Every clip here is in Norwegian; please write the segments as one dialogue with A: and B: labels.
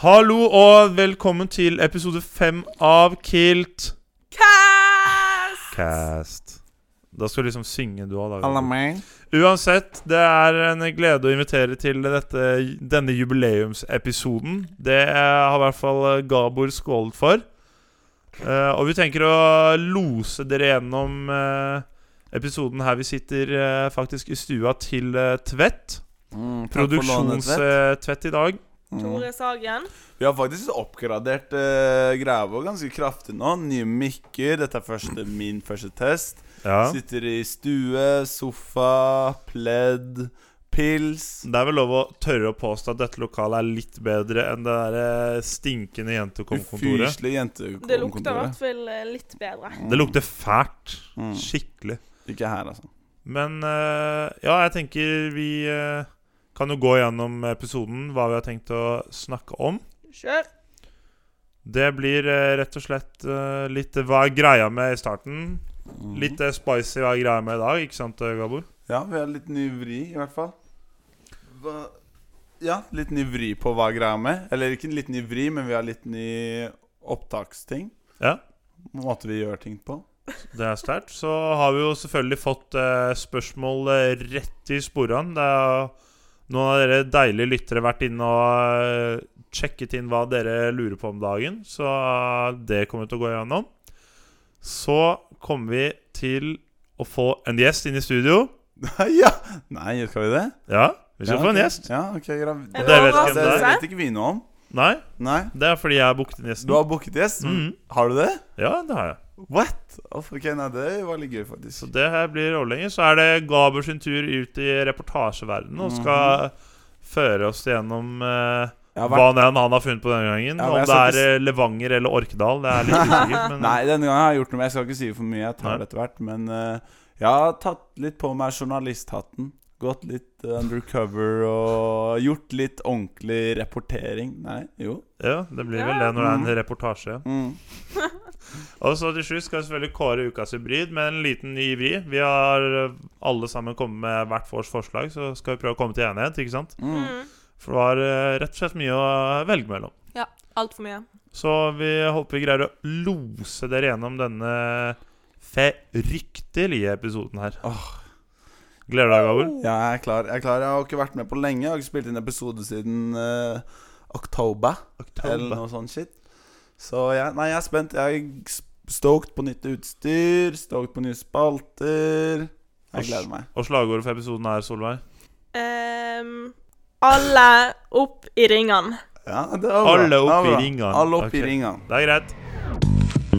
A: Hallo og velkommen til episode fem av Kilt
B: Cast!
A: Cast. Da skal du liksom synge, du òg.
B: Alla meg.
A: Uansett, det er en glede å invitere til dette, denne jubileumsepisoden. Det har i hvert fall Gabor skålet for. Eh, og vi tenker å lose dere gjennom eh, episoden her vi sitter eh, faktisk i stua til eh, Tvedt.
B: Mm, takk for lånet, vet.
A: Produksjonstvedt i dag.
B: Mm.
C: Tore Sagen.
B: Vi har faktisk oppgradert uh, greia vår ganske kraftig nå. Nye mikker. Dette er første, min første test.
A: Ja.
B: Sitter i stue, sofa, pledd, pils.
A: Det er vel lov å tørre å påstå at dette lokalet er litt bedre enn det der eh, stinkende jentekomkontoret.
B: Ufyselig
C: Det lukter i hvert
B: jentekontoret.
C: fall eh, litt bedre.
A: Det lukter fælt.
B: Mm.
A: Skikkelig.
B: Ikke her, altså.
A: Men eh, ja, jeg tenker vi eh, kan jo gå gjennom episoden, hva vi har tenkt å snakke om.
C: Kjør.
A: Det blir eh, rett og slett eh, litt eh, Hva er greia med i starten?
B: Mm.
A: Litt eh, spicy hva er greia med i dag, ikke sant, eh, Gabor?
B: Ja, vi har litt ny vri, i hvert fall. Hva Ja, litt ny vri på hva greia med. Eller ikke litt ny vri, men vi har litt ny opptaksting.
A: Ja.
B: Måte vi gjør ting på.
A: Det er sterkt. Så har vi jo selvfølgelig fått eh, spørsmål eh, rett i sporene. Det er, noen av dere deilige lyttere vært inne og eh, sjekket inn hva dere lurer på om dagen. Så eh, det kommer vi til å gå gjennom. Så kommer vi til å få en gjest inn i studio.
B: ja! Nei, skal vi det?
A: Ja, vi skal
B: ja,
A: få en
B: ok.
A: gjest.
B: Ja, ok, greit.
C: En
A: det vet
B: det,
A: ikke hvem det er.
B: vet ikke vi noe om.
A: Nei,
B: Nei.
A: det er fordi jeg har booket inn gjesten.
B: Du har booket gjest?
A: Mhm.
B: Har du det?
A: Ja, det har jeg.
B: What? Oh, ok, nei, det var litt gøy,
A: Så
B: faktisk.
A: det her blir overlenger. Så er det Gaber sin tur ut i reportasjeverdenen
B: Mhm.
A: og skal føre oss gjennom eh,
B: Jeg har
A: Hva
B: vært...
A: nå enn han har funnet på denne gangen.
B: Ja, men
A: Om
B: jeg
A: det
B: skal
A: er eh, Levanger eller Orkedal, det er litt usikkert. Men
B: Nei, denne gangen har jeg gjort noe, men jeg skal ikke si for mye. Jeg tar
A: Nei.
B: det etter hvert. Men eh, jeg har tatt litt på meg journalisthatten. Gått litt eh, undercover og gjort litt ordentlig rapportering. Nei, jo.
A: eh, ja, det blir vel det når det er en reportasje.
B: Mm.
A: Og så til slutt skal vi selvfølgelig kåre ukas hybrid med en liten ny vri. Vi har eh, alle sammen kommet med hvert vårt forslag, så skal vi prøve å komme til enighet. ikke sant?
B: Mm.
C: Mm.
A: For det var eh, rett og slett mye å eh, velge mellom.
C: Altfor mye.
A: Så vi håper vi greier å lose dere gjennom denne feryktelige episoden her.
B: Åh.
A: Gleder deg, Gaul.
C: Oh.
B: Ja, jeg er klar. Jeg er klar Jeg har ikke vært med på lenge. Jeg har ikke spilt inn episode siden eh, oktober. Eller noe sånt shit. Så jeg, nei, jeg er spent. Jeg er stoked på nytt utstyr, stoked på nye spalter. Jeg gleder meg.
A: Og slagordet for episoden er, Solveig?
C: Ehm, alle opp i ringene.
B: Ja, det var bra.
A: Alle
B: Det var
A: opp i
B: bra.
A: ringene.
B: Alle opp i
A: Ok.
B: ringene.
A: Det er greit.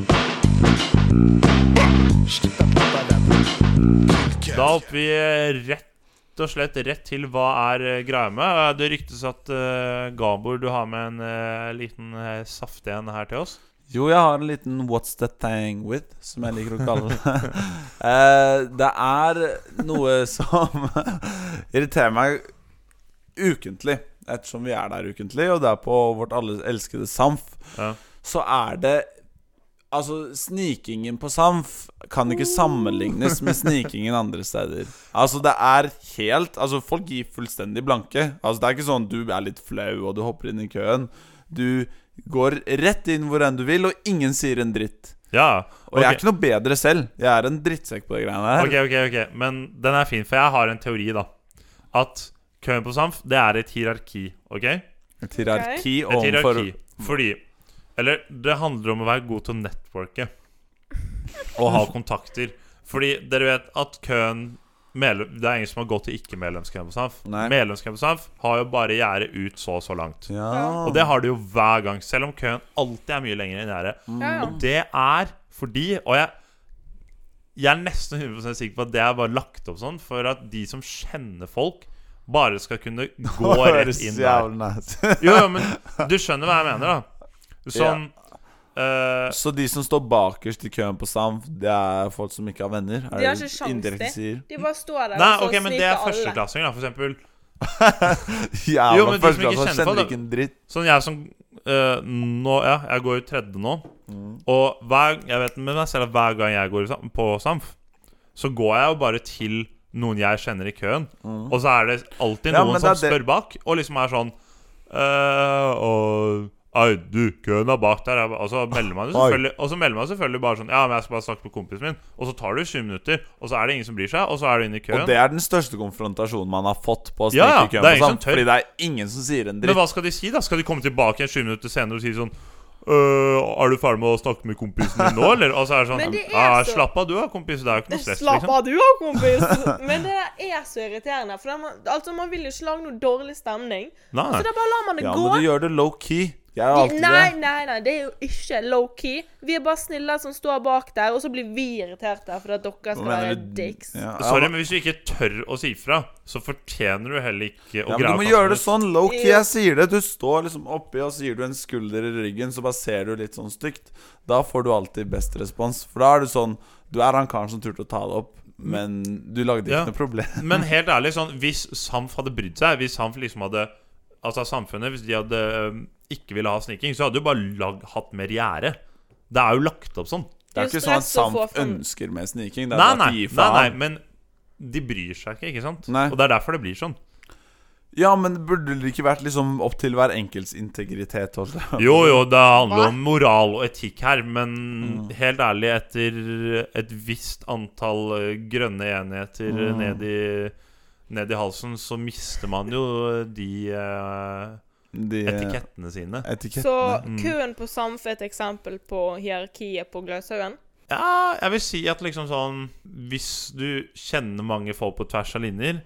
A: Da hopper vi eh, rett og slett rett til hva er eh, greia med. Eh, Det ryktes at eh, Gabor, du har med en eh, liten eh, saftig en her til oss.
B: Jo, jeg har en liten What's the thing with, som jeg liker å kalle det. Eh, det er noe som irriterer meg ukentlig, ettersom vi er der ukentlig, og det er på vårt alles elskede Samf.
A: Ja.
B: Så er det Altså, snikingen på Samf kan ikke sammenlignes med snikingen andre steder. Altså, det er helt Altså, folk gir fullstendig blanke. Altså, det er ikke sånn du er litt flau, og du hopper inn i køen. Du går rett inn hvor enn du vil, og ingen sier en dritt.
A: Ja.
B: Og jeg er ikke noe bedre selv. Jeg er en drittsekk på de greiene her.
A: Ok, ok, ok Men den er fin, for jeg har en teori, da. At køen på Samf, det er et hierarki. Ok?
B: Et hierarki
A: Et
B: overfor
A: hierarki. Fordi Eller det handler om å være god til å networke. Og ha kontakter. Fordi dere vet at køen medlem, Det er ingen som har gått til ikke-medlemskøen på SAMF.
B: Nei.
A: Medlemskøen på SAMF har jo bare gjerdet ut så og så langt.
B: Ja.
A: Og det har det jo hver gang, selv om køen alltid er mye lenger enn gjerdet.
B: Mm.
C: Ja, ja.
A: Og det er fordi Og jeg jeg er nesten 100 sikker på at det er bare lagt opp sånn for at de som kjenner folk, bare skal kunne gå rett inn der.
B: jævlig nice
A: Jo, jo, men du skjønner hva jeg mener, da. Sånn eh,
B: Så de som står bakerst i køen på Samf, det er folk som ikke har venner? Er
C: De har
B: det
C: ikke sjans,
B: indirekte
C: de.
B: sier?
C: De bare står der
A: Nei,
C: og så
A: ok, men det er
C: sniker alle.
A: førsteklassinger, da, for eksempel. Jo,
B: Jævla
A: men de som ikke
B: førsteklasse,
A: kjenner folk,
B: kjenner
A: da.
B: ikke en dritt.
A: Sånn jeg som eh, Nå, ja, jeg går jo tredje nå.
B: Mm.
A: Og hver, jeg vet med meg selv at hver gang jeg går i sam- på SAMF, så går jeg jo bare til noen jeg kjenner i køen. Og så er det alltid
B: Mm. Ja,
A: noen
B: men
A: som
B: det er det-
A: spør bak, og liksom er sånn Eh, og Ai, du, køen er bak der. Jeg ba- Og så melder man jo
B: Oi.
A: selvfølgelig, og så melder man selvfølgelig bare sånn Ja, men jeg skal bare snakke med kompisen min. Og så tar det 20 minutter, og så er det ingen som bryr seg, og så er du inne i køen.
B: Og det er den største konfrontasjonen man har fått på å snike
A: Ja,
B: i køen.
A: det er
B: på
A: ingen som
B: sånn,
A: tør.
B: Fordi det er ingen som sier en
A: Men
B: dritt.
A: hva skal de si, da? Skal de komme tilbake igjen 20 minutter senere og si sånn «Øh, Er du ferdig med å snakke med kompisen din nå, eller? Og så er det sånn
C: Men det er
A: «Ja,
C: så-
A: Slapp av, du da, kompis. Det er jo ikke noe stress,
C: Slapp
A: liksom.
C: av, du òg, kompis! Men det der er så irriterende. For det er man, altså, man vil jo ikke lage noe dårlig stemning.
A: Nei.
C: Så da bare lar man det
B: Ja,
C: gå.
B: men du gjør det low-key. Jeg er
C: De-
B: alltid
C: nei,
B: det.
C: nei, nei, det er jo ikke low-key. Vi er bare snille som står bak der, og så blir vi irriterte fordi at dere
B: Hva
C: skal
B: mener
C: være
B: du?
C: dicks.
B: Ja,
A: Sorry,
B: ja,
A: men hvis du ikke tør å si fra, så fortjener du heller ikke å
B: Ja, men
A: greie
B: du må
A: å kaste
B: gjøre det
A: ut.
B: sånn low-key.
C: Ja.
B: Jeg sier det. Du står liksom oppi, og så gir du en skulder i ryggen, så bare ser du litt sånn stygt. Da får du alltid best respons. For da er du sånn Du er han karen som turte å ta det opp, men du lagde ikke
A: Ja.
B: noe problem.
A: Men helt ærlig, sånn, hvis Samf hadde brydd seg Hvis Samf liksom hadde Altså samfunnet, hvis de hadde øhm, ikke ville ha sniking Så hadde du bare lag, hatt mer gjerde Det er jo lagt opp sånn
B: Det er
C: Det er
B: ikke sånn at
C: stress å få
B: Samf
C: fram-
B: ønsker mer sniking.
A: Nei,
B: Det er bare
A: nei,
B: at de gir
A: nei, nei
B: faen.
A: Men de bryr seg ikke, ikke sant?
B: Nei.
A: Og det er derfor det blir sånn
B: Ja, men burde det ikke vært liksom opp til hver enkelts integritet? Holdt jeg på å
A: Jo jo, det handler
C: Hva?
A: om moral og etikk her Men helt ærlig, etter et visst antall øh, grønne enheter øh, ned, i, ned i halsen Så mister man jo de øh,
B: De eh,
A: etikettene sine
B: etikettene.
C: Så
A: Mm.
C: køen på Samf er et eksempel på hierarkiet på Gløshaugen.
A: Ja, jeg vil si at liksom sånn Hvis du kjenner mange folk på tvers av linjer,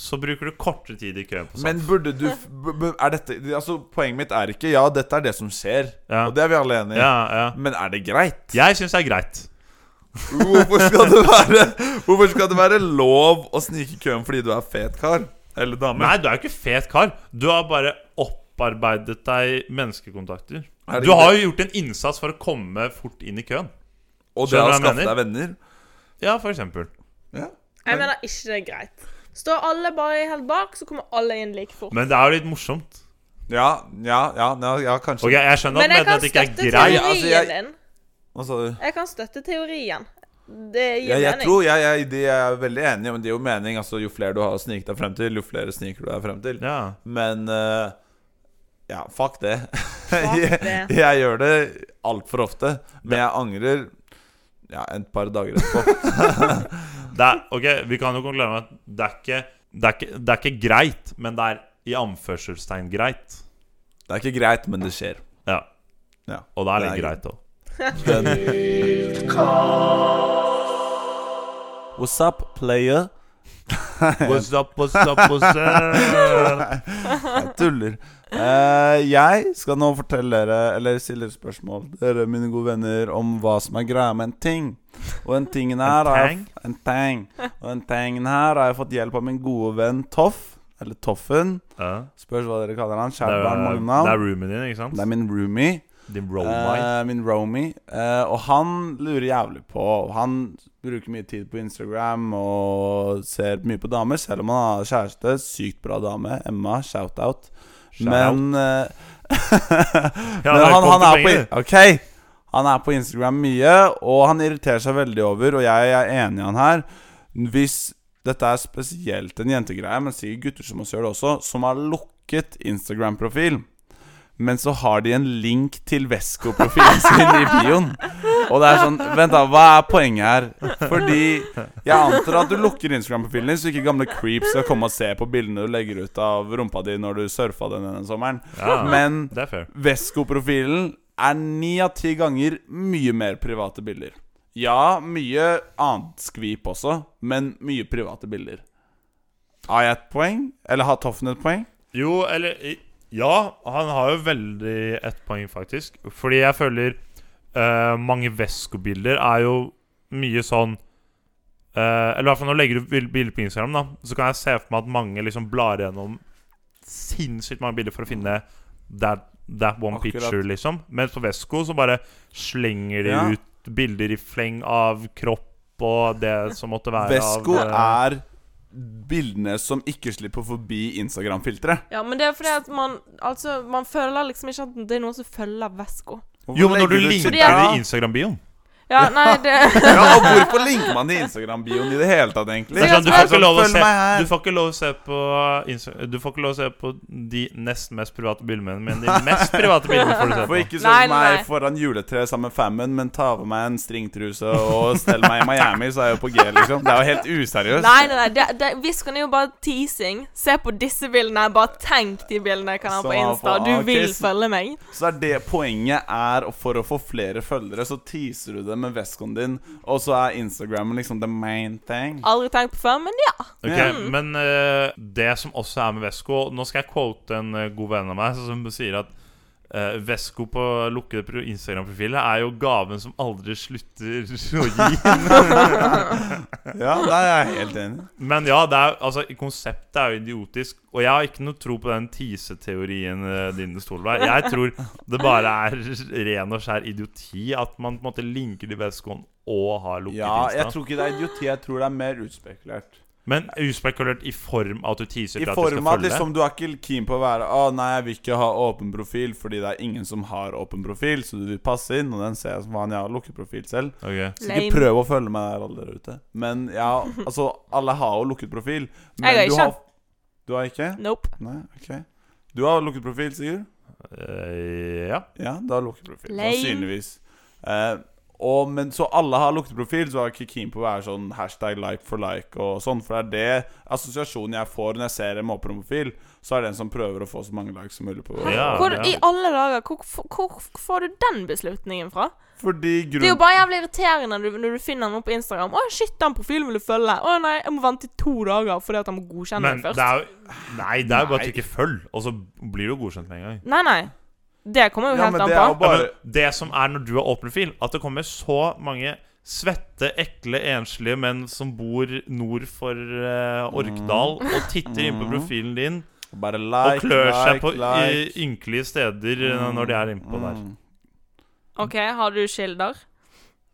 A: så bruker du kortere tid i køen på sånn.
B: Men burde du f- b- b- Er dette Altså, poenget mitt er ikke Ja, dette er det som skjer,
A: Ja.
B: og det er vi alle enig i,
A: sånn. Ja, ja.
B: men er det greit?
A: Jeg syns det er greit.
B: Hvorfor skal det være Hvorfor skal det være lov å snike i køen fordi du er fet kar? Eller dame?
A: Nei, du er jo ikke fet kar. Du har bare opparbeidet deg menneskekontakter.
B: Er det
A: Du
B: ikke
A: har jo gjort en innsats for å komme fort inn i køen.
B: og det
A: skjønner
B: å
A: hva jeg
B: skaffe
A: mener.
B: deg venner?
A: Ja, for eksempel.
B: Ja.
C: Jeg mener ikke det er greit. Står alle bare helt bak, så kommer alle inn like fort.
A: Men det er jo litt morsomt.
B: Ja, ja, ja, ja, ja kanskje.
A: Ok, Jeg skjønner at
C: Men jeg
A: medlem
C: kan
A: at det ikke
C: støtte
A: er greit.
B: til- altså,
C: teorien
B: jeg-
C: din.
B: Hva sa du?
C: Jeg kan støtte teorien. Det gir
B: Ja, jeg
C: mening.
B: tror jeg, jeg, de er veldig enige, men det gir jo mening. Altså, jo flere du har å snike deg frem til, jo flere sniker du deg frem til.
A: Ja.
B: Men eh, ja, fuck det. jeg,
C: det.
B: jeg gjør det altfor ofte, men jeg angrer ja, et par dager etterpå.
A: Det er, ok, Vi kan jo konkludere med at det er ikke, det er ikke, det er ikke greit, men det er i anførselstegn greit.
B: Det er ikke greit, men det skjer.
A: Ja.
B: Ja.
A: Og det er
B: Det
A: litt
B: er
A: greit òg.
B: What's up, player?
A: What's up, what's up, what's up?
B: Jeg tuller. Eh, jeg skal nå fortelle dere, eller stille dere spørsmål, dere mine gode venner, om hva som er greia med en ting. Og den tingen her har jeg- En tang. Og den tangen her har jeg fått hjelp av min gode venn Toff. Eller Toffen.
A: Ja.
B: Spørs hva dere kaller han.
A: Det er,
B: Kjærbarn, mange
A: det er
B: navn.
A: roomien din, ikke
B: Det
A: sant?
B: er min roomie.
A: Din rollmite.
B: Eh, min roomie. Eh, og han lurer jævlig på Han bruker mye tid på Instagram og ser mye på damer, selv om han har kjæreste. Sykt bra dame. Emma, shout-out.
A: Shout-out.
B: Men eh,
A: Ja,
B: men
A: det
B: han,
A: kom
B: han,
A: til
B: er
A: penger.
B: på, ok, han er på Instagram mye, og han irriterer seg veldig over, og jeg er enig i han her. Hvis dette er spesielt en jentegreie, men sikkert gutter som oss gjør det også, som har lukket Instagram-profil. Men så har de en link til Vesco-profilen sin i bioen. Og det er sånn Vent, da. Hva er poenget her? Fordi jeg antar at du lukker Instagram-profilen din, så ikke gamle creeps skal komme og se på bildene du legger ut av rumpa di når du surfa den denne sommeren.
A: Ja.
B: Men
A: Det er fair.
B: Vesco-profilen er ni av ti ganger mye mer private bilder. Ja, mye annet skvip også, men mye private bilder. Har jeg et poeng? Eller har Toffen et poeng?
A: Jo, eller i- Ja, han har jo veldig ett poeng, faktisk. Fordi jeg føler eh, mange Vesco-bilder er jo mye sånn eh, Eller i hvert fall når du legger ut bil- bilder på Instagram, da så kan jeg se for meg at mange liksom blar gjennom sinnssykt mange bilder for å finne that, that one
B: Akkurat.
A: picture, liksom. Mens på Vesco så bare slenger de
B: Ja.
A: ut bilder i fleng av kropp og det som måtte være
B: Vesco
A: av eh,
B: er bildene som ikke slipper forbi Instagram-filtret.
C: Ja, men det er fordi at man Altså, man føler liksom ikke at det er noen som følger Vesko.
A: Jo, men når du linker det i
C: Ja.
A: Instagram-bioen
C: Ja, nei, det
B: Ja, og hvorfor linker man det i Instagram-bioen i det hele tatt, egentlig?
A: Det er sånn, du, får ikke lov å
B: Følg
A: se,
B: meg her.
A: du får ikke lov å se på Insta- Du får ikke lov å se på de nest mest private bildene mine, men de mest private bildene får du se
B: Får
A: på.
B: ikke se
C: Nei, nei,
B: meg
C: nei.
B: foran juletreet sammen med fammen, men ta av meg en stringtruse og stell meg i Miami, så er jeg jo på G, liksom. Det er jo helt useriøst.
C: Nei, nei, nei. Det, det, Viskan er jo bare teasing. Se på disse bildene. Bare tenk de bildene jeg kan ha
B: Så
C: på
B: han
C: Insta.
B: får-
C: Du
B: ok,
C: vil
B: så-
C: følge meg.
B: Så det er det poenget er og for å få flere følgere, så teaser du det med veskoen din, og så er Instagram liksom the main thing.
C: Aldri tenkt på før, men ja.
A: Ok, Men eh, det som også er med Vesko Nå skal jeg quote en eh, god venn av meg som sier at eh, Vesko på lukkede pro- Instagram-profiler er jo gaven som aldri slutter å gi.
B: Ja, det er jeg helt enig i.
A: Men ja, det er, altså, konseptet er jo idiotisk. Og jeg har ikke noe tro på den teaseteorien eh, din, Solveig. Jeg tror det bare er ren og skjær idioti at man på en måte linker til Veskoen og har lukket
B: Ja, jeg
A: Insta.
B: tror ikke det er idioti, jeg tror det er mer utspekulert.
A: Men uspekulert i form av at du teaser
B: I
A: til at du skal
B: form av at
A: følge.
B: liksom, du er ikke keen på å være Å nei, jeg vil ikke ha åpen profil fordi det er ingen som har åpen profil, så du vil passe inn, og den ser jeg som faen, jeg har lukket profil selv.
A: Ok.
B: Så ikke
C: Lame.
B: prøv å følge meg der, alle der ute. Men ja, altså, alle har jo lukket profil. Men
C: Jeg har ikke.
B: Du har, du har ikke?
C: Nope.
B: Nei, ok. Du har lukket profil, Sigurd?
A: Eh, ja.
B: Ja, da lukker profil.
C: Lame.
B: Sannsynligvis. Eh, og, men, så alle har lukteprofil, så er jeg ikke keen på å være sånn hashtag like for like og sånn. For det er det assosiasjonen jeg får når jeg ser en mobbeprofil, så er det en som prøver å få så mange likes som mulig på
A: Ja,
C: Hvor
A: det er-
C: i alle dager hvor, hvor, hvor får du den beslutningen fra?
B: Fordi
C: Det er jo
B: grunnen
C: bare jævlig irriterende når du, når du finner noen på Instagram. 'Å, shit, den profilen vil du følge.' 'Å nei, jeg må vente i to dager fordi at han må godkjenne
A: Men
C: meg først.'
A: det er jo Nei, det er jo bare at du ikke følger, og så blir du godkjent med en gang.
C: Nei, nei. Det kommer jo
B: Ja,
C: helt
B: men
C: an
B: det
C: på.
B: er jo
A: Ja,
B: bare
A: men det som er når du har åpen profil, at det kommer så mange svette, ekle, enslige menn som bor nord for eh, Orkdal,
B: Mm.
A: og titter inn på profilen din
B: Bare
A: og
B: like,
A: klør seg
B: like,
A: på
B: like.
A: i- ynkelige steder
B: Mm.
A: eh, når de er innpå der.
C: OK, har du kilder?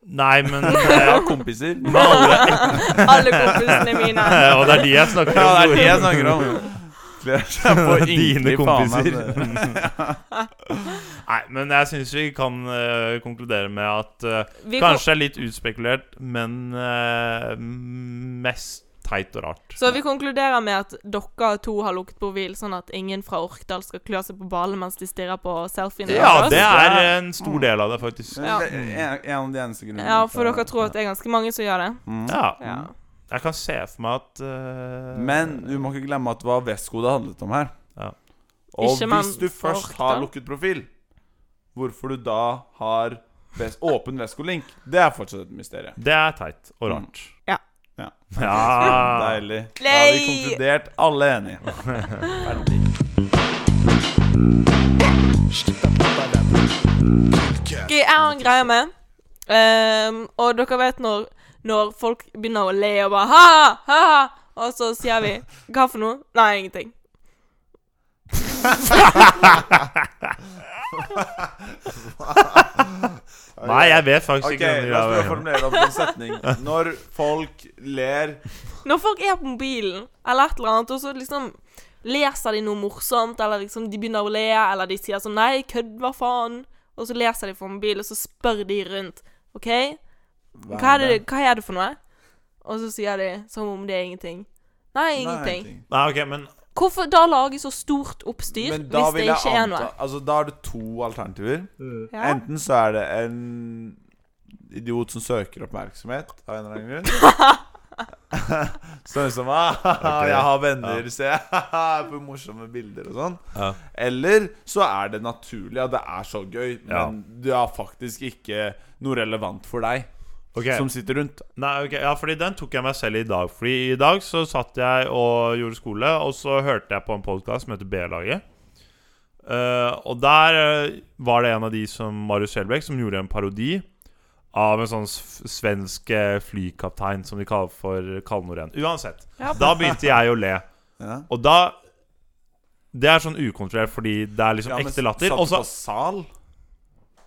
A: Nei, men eh,
B: Kompiser.
A: med alle,
C: Alle kompisene mine.
A: Og det er de jeg snakker
B: Ja,
A: om.
B: det er det jeg snakker om. Klør seg på
A: Dine
B: ynkelig faen altså. meg.
A: kompiser. Nei, men jeg syns vi kan eh, konkludere med at eh,
C: Vi kom,
A: Kanskje det er litt utspekulert, men eh, mest teit og rart.
C: så vi konkluderer med at dere to har lukket profil, sånn at ingen fra Orkdal skal klø seg på ballen mens de stirrer på selfiene.
A: Ja,
C: deres.
A: det er en
B: Mm.
A: stor del av det, faktisk.
C: Ja.
B: Det er En en av de eneste grunnene. Mm.
C: ja, for dere tror at det er ganske mange som gjør det.
A: Ja.
C: Ja.
A: Jeg kan se for meg at eh,
B: Men du må ikke glemme at det var Vesko det handlet om her.
A: Ja.
B: Og
C: Ikke man
B: hvis du først
C: folk,
B: har
C: da?
B: lukket profil, hvorfor du da har ves åpen Vesko-link, det er fortsatt et mysterium.
A: Det er teit og rart.
C: Ja.
B: Mm. Ja.
A: Ja.
B: Deilig. Da har vi
C: Play!
B: konkludert. Alle er enige. Ferdig.
C: Ok, jeg har en greie med. Ehm, og dere vet når, når folk begynner å le og bare ha, ha, ha, og så sier vi hva for noe? Nei, ingenting.
A: Nei, jeg vet faktisk
B: Ok,
A: ikke hvem de
B: La oss prøve å
A: er.
B: formulere opp en setning. Når folk ler
C: Når folk er på mobilen eller et eller annet, og så liksom leser de noe morsomt, eller liksom de begynner å le, eller de sier sånn nei, kødd, hva faen? Og så leser de fra mobilen, og så spør de rundt. OK, hva er det, hva er det for noe? Og så sier de som om det er ingenting. Nei,
B: Nei,
C: ingenting.
B: ingenting.
A: Nei, ok, men
C: Hvorfor da lage så stort oppstyr
B: Men da
C: hvis det
B: vil jeg
C: ikke er noe?
B: anta Altså, da er det to alternativer.
C: Ja.
B: Enten så er det en idiot som søker oppmerksomhet av en eller annen grunn. sånn som ah, Jeg har venner, se. på morsomme bilder og sånn.
A: Ja.
B: Eller så er det naturlig at det er så gøy, men
A: Ja.
B: det er faktisk ikke noe relevant for deg
A: ok.
B: som sitter rundt.
A: Nei, ok, ja, fordi den tok jeg meg selv i dag. Fordi i dag så satt jeg og gjorde skole, og så hørte jeg på en podkast som heter B-laget. Eh, og der eh, var det en av de som Marius Skjelbæk som gjorde en parodi av en sånn s- svensk eh, flykaptein som de kaller for Kalnoren. Uansett.
C: Ja.
A: Da begynte jeg å le.
B: Ja.
A: Og da Det er sånn ukontrollert fordi det er liksom
B: Ja, men
A: ekte latter.
B: Satt
A: Og
B: du
A: så
B: på sal?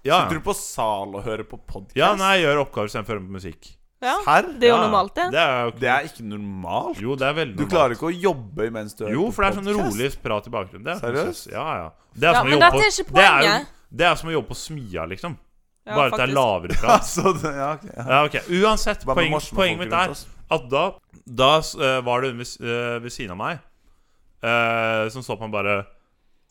A: ja,
B: Sitter du på sal og hører på podkast?
A: ja, nei, jeg gjør oppgaver istedenfor å høre på musikk.
C: Ja,
B: Her?
C: det er jo
A: Ja,
C: normalt, det.
A: Det er jo
B: Det er ikke normalt.
A: Jo, det er veldig
B: Du
A: normalt.
B: klarer ikke å jobbe mens du hører
A: Jo,
B: på
A: for det er sånn
B: podcast.
A: rolig prat i bakgrunnen. Det er, sånn-
B: Seriøst?
A: Ja, ja. Det er
C: Ja,
A: som å
C: men
A: jobbe
C: dette er
A: på- det
C: ikke
A: er jo-
C: poenget.
A: Det er som å jobbe på smia, liksom.
C: Ja,
A: bare at det er
C: faktisk.
A: lavere prat.
B: Altså, det, ja, ok, ja.
A: Ja, ok, Uansett,
B: Hva med
A: poeng,
B: morsomme folk
A: poenget mitt
B: rundt
A: er
B: oss?
A: at da, da eh, var det hun ved, eh, ved siden av meg eh, som så på meg bare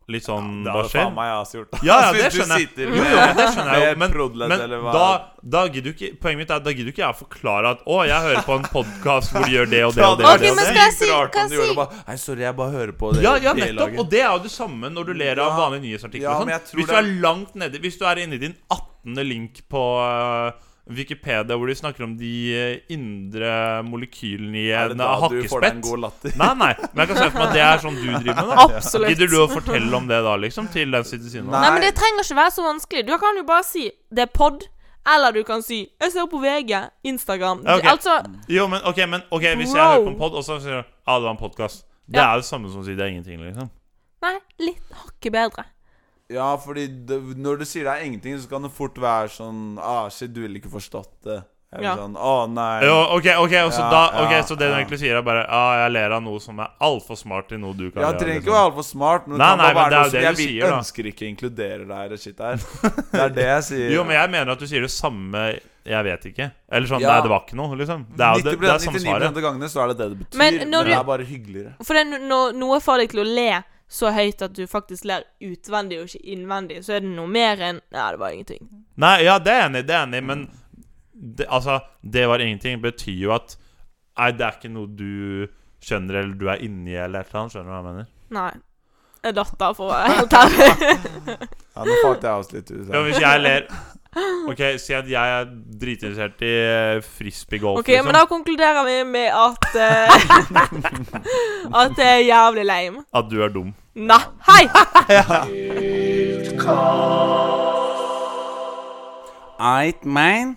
A: litt sånn
B: Det
A: Hva
B: hadde
A: skjer?
B: faen meg jeg også gjort.
A: Ja, ja,
B: Hvis
A: det
B: du
A: skjønner jeg.
B: sitter
A: Jo,
B: med-
A: jo, det skjønner jeg jo,
B: med
A: men,
B: Prodled,
A: men
B: eller hva-
A: da, da gidder jo ikke Poenget mitt er at da gidder jo ikke jeg å forklare at Å, jeg hører på en podkast hvor de gjør det og det og det.
C: Ok,
A: Og det, og
C: men
A: det.
C: skal jeg si-
B: Rart
C: kan
B: om du
C: jeg
B: gjorde
C: si-
B: bare, Nei, sorry, jeg bare hører på det
A: Ja, ja,
B: hele
A: nettopp.
B: dagen».
A: Og det er jo det samme når du ler av
B: Ja.
A: vanlige nyhetsartikler.
B: Ja,
A: og
B: men jeg
A: sånn.
B: tror
A: Hvis du
B: det-
A: er langt nede Hvis du er inne i din 18. link på eh, Wikipedia, hvor de snakker om de eh, indre molekylene i
B: Er
A: en
B: det da du får deg en
A: hakkespett
B: god latter?
A: Nei, nei. Men jeg kan se for meg at det er sånn du driver med. da
C: Absolutt.
A: Gidder du å fortelle om det da, liksom? Til den som sitter ved siden av?
C: Nei, men det trenger ikke være så vanskelig. Du kan jo bare si 'det er pod', eller du kan si 'jeg ser på VG', Instagram. Du-
A: Ja, ok.
C: Altså
A: Jo, men ok, men ok, hvis jeg
C: Wow.
A: hører på en pod, og så sier du ja, det var en podkast. Det
C: Ja.
A: er jo det samme som å si det er ingenting, liksom.
C: Nei, litt hakket bedre.
B: Ja, fordi det, når du sier det er ingenting, så kan det fort være sånn Ah, shit, du ville ikke forstått det. Eller
C: Ja.
B: sånn Å, nei.
A: Jo, ok, ok, og så
B: Ja,
A: da, ok,
B: ja,
A: så det du
B: ja.
A: egentlig sier, er bare ja, jeg ler av noe som er altfor smart til noe du kan gjøre,
B: Ja, det trenger ikke
A: liksom.
B: være altfor smart, men det
A: Nei,
B: kan
A: nei,
B: bare
A: men
B: være
A: det er jo
B: noe
A: det
B: som jeg
A: du
B: vil-
A: sier, da.
B: ønsker ikke å inkludere deg i det shit her. Det er det jeg sier.
A: Jo, men jeg mener at du sier det samme Jeg vet ikke. Eller sånn
B: Ja.
A: Nei, det var ikke noe, liksom. Det er jo det, det er samme
B: 99
A: svaret.
B: av gangene så er det det det betyr,
C: Men
B: men,
C: når
B: det
C: du-
B: er bare hyggeligere.
C: For det, er når noe får deg til å le så høyt at du faktisk ler utvendig og ikke innvendig, så er det noe mer enn 'ja, det var ingenting'.
A: Nei, ja, det er jeg enig, i, det er jeg enig, i, men det, altså Det var ingenting betyr jo at Nei, det er ikke noe du skjønner, eller du er inni, eller et eller annet. Skjønner du hva jeg mener?
C: Nei. Jeg datt av for å være helt ærlig.
B: Ja, nå falt jeg oss litt ut.
A: Ja,
B: her.
A: men hvis jeg ler Ok, Si at jeg er dritinteressert i eh, frisbeegolf. liksom.
C: OK, men da konkluderer vi med at eh, At det er jævlig lame.
A: At du er dum.
C: Nei, hei!
B: Eit, man.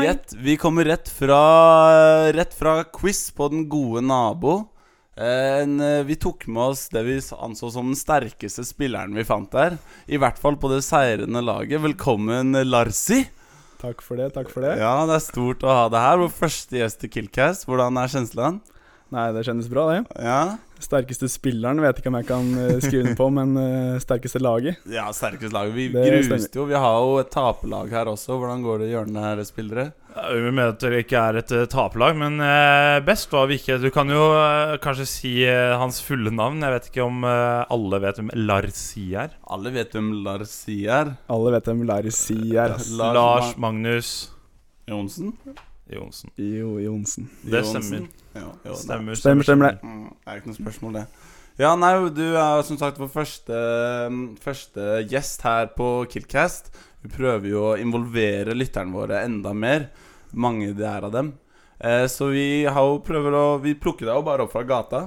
B: Gjett. Vi kommer rett fra, rett fra quiz på Den gode nabo. En, eh, vi tok med oss det vi anså som den sterkeste spilleren vi fant der. I hvert fall på det seirende laget. Velkommen, eh, Larsi.
D: Takk for det, takk for det.
B: Ja, det er stort å ha deg her. Vår første gjest i Killcast. Hvordan er kjenslen?
D: Nei, det kjennes bra, det.
B: Ja,
D: Sterkeste spilleren vet ikke om jeg kan eh, skrive den på, men eh, sterkeste laget.
B: ja sterkeste laget. Vi
D: Det stemmer.
B: gruste jo. Vi har jo et taperlag her også. Hvordan går det i hjørnet her, spillere?
A: Vi mener at dere ikke er et eh, taperlag, men eh, best var vi ikke. Du kan jo eh, kanskje si eh, hans fulle navn. Jeg vet ikke om eh, alle vet hvem Larsi er.
B: Alle vet hvem Larsi er.
D: Alle vet hvem Larry Si er. ass.
B: Lars
A: Lars
B: Mag-
A: Magnus
B: Johnsen?
A: Johnsen.
D: Jo, Johnsen.
A: Det
B: Johansen.
A: stemmer.
B: Ja, jo, nei.
A: Stemmer,
D: Stemmer, stemmer det.
B: Mm, Det er ikke noe spørsmål, det. Ja, nei, du er som sagt vår første, mm, første gjest her på Killcast. Vi prøver jo å involvere lytterne våre enda mer. Mange det er av dem. Eh, så vi har jo prøver å Vi plukker deg jo bare opp fra gata.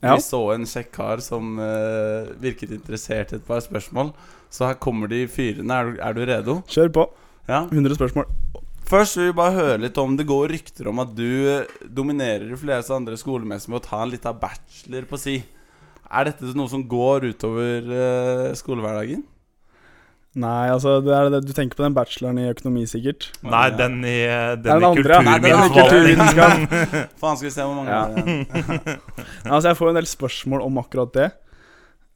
D: Ja.
B: Vi så en kjekk kar som eh, virket interessert i et par spørsmål. Så her kommer de fyrene. Er du, er du redo?
D: Kjør på.
B: Ja.
D: 100 spørsmål.
B: Først vil vi bare høre litt om Det går rykter om at du eh, dominerer de fleste andre skolemessig med å ta en liten bachelor på si. Er dette noe som går utover eh, skolehverdagen?
D: Nei, altså, det er det du tenker på den bacheloren i økonomi, sikkert.
A: Nei, den i, eh,
D: den
A: den i
D: andre, ja. Nei,
B: den er
A: kulturminneforvaltning.
B: Faen, skal vi se hvor mange
D: Ja.
B: er det igjen.
D: Altså, jeg får en del spørsmål om akkurat det.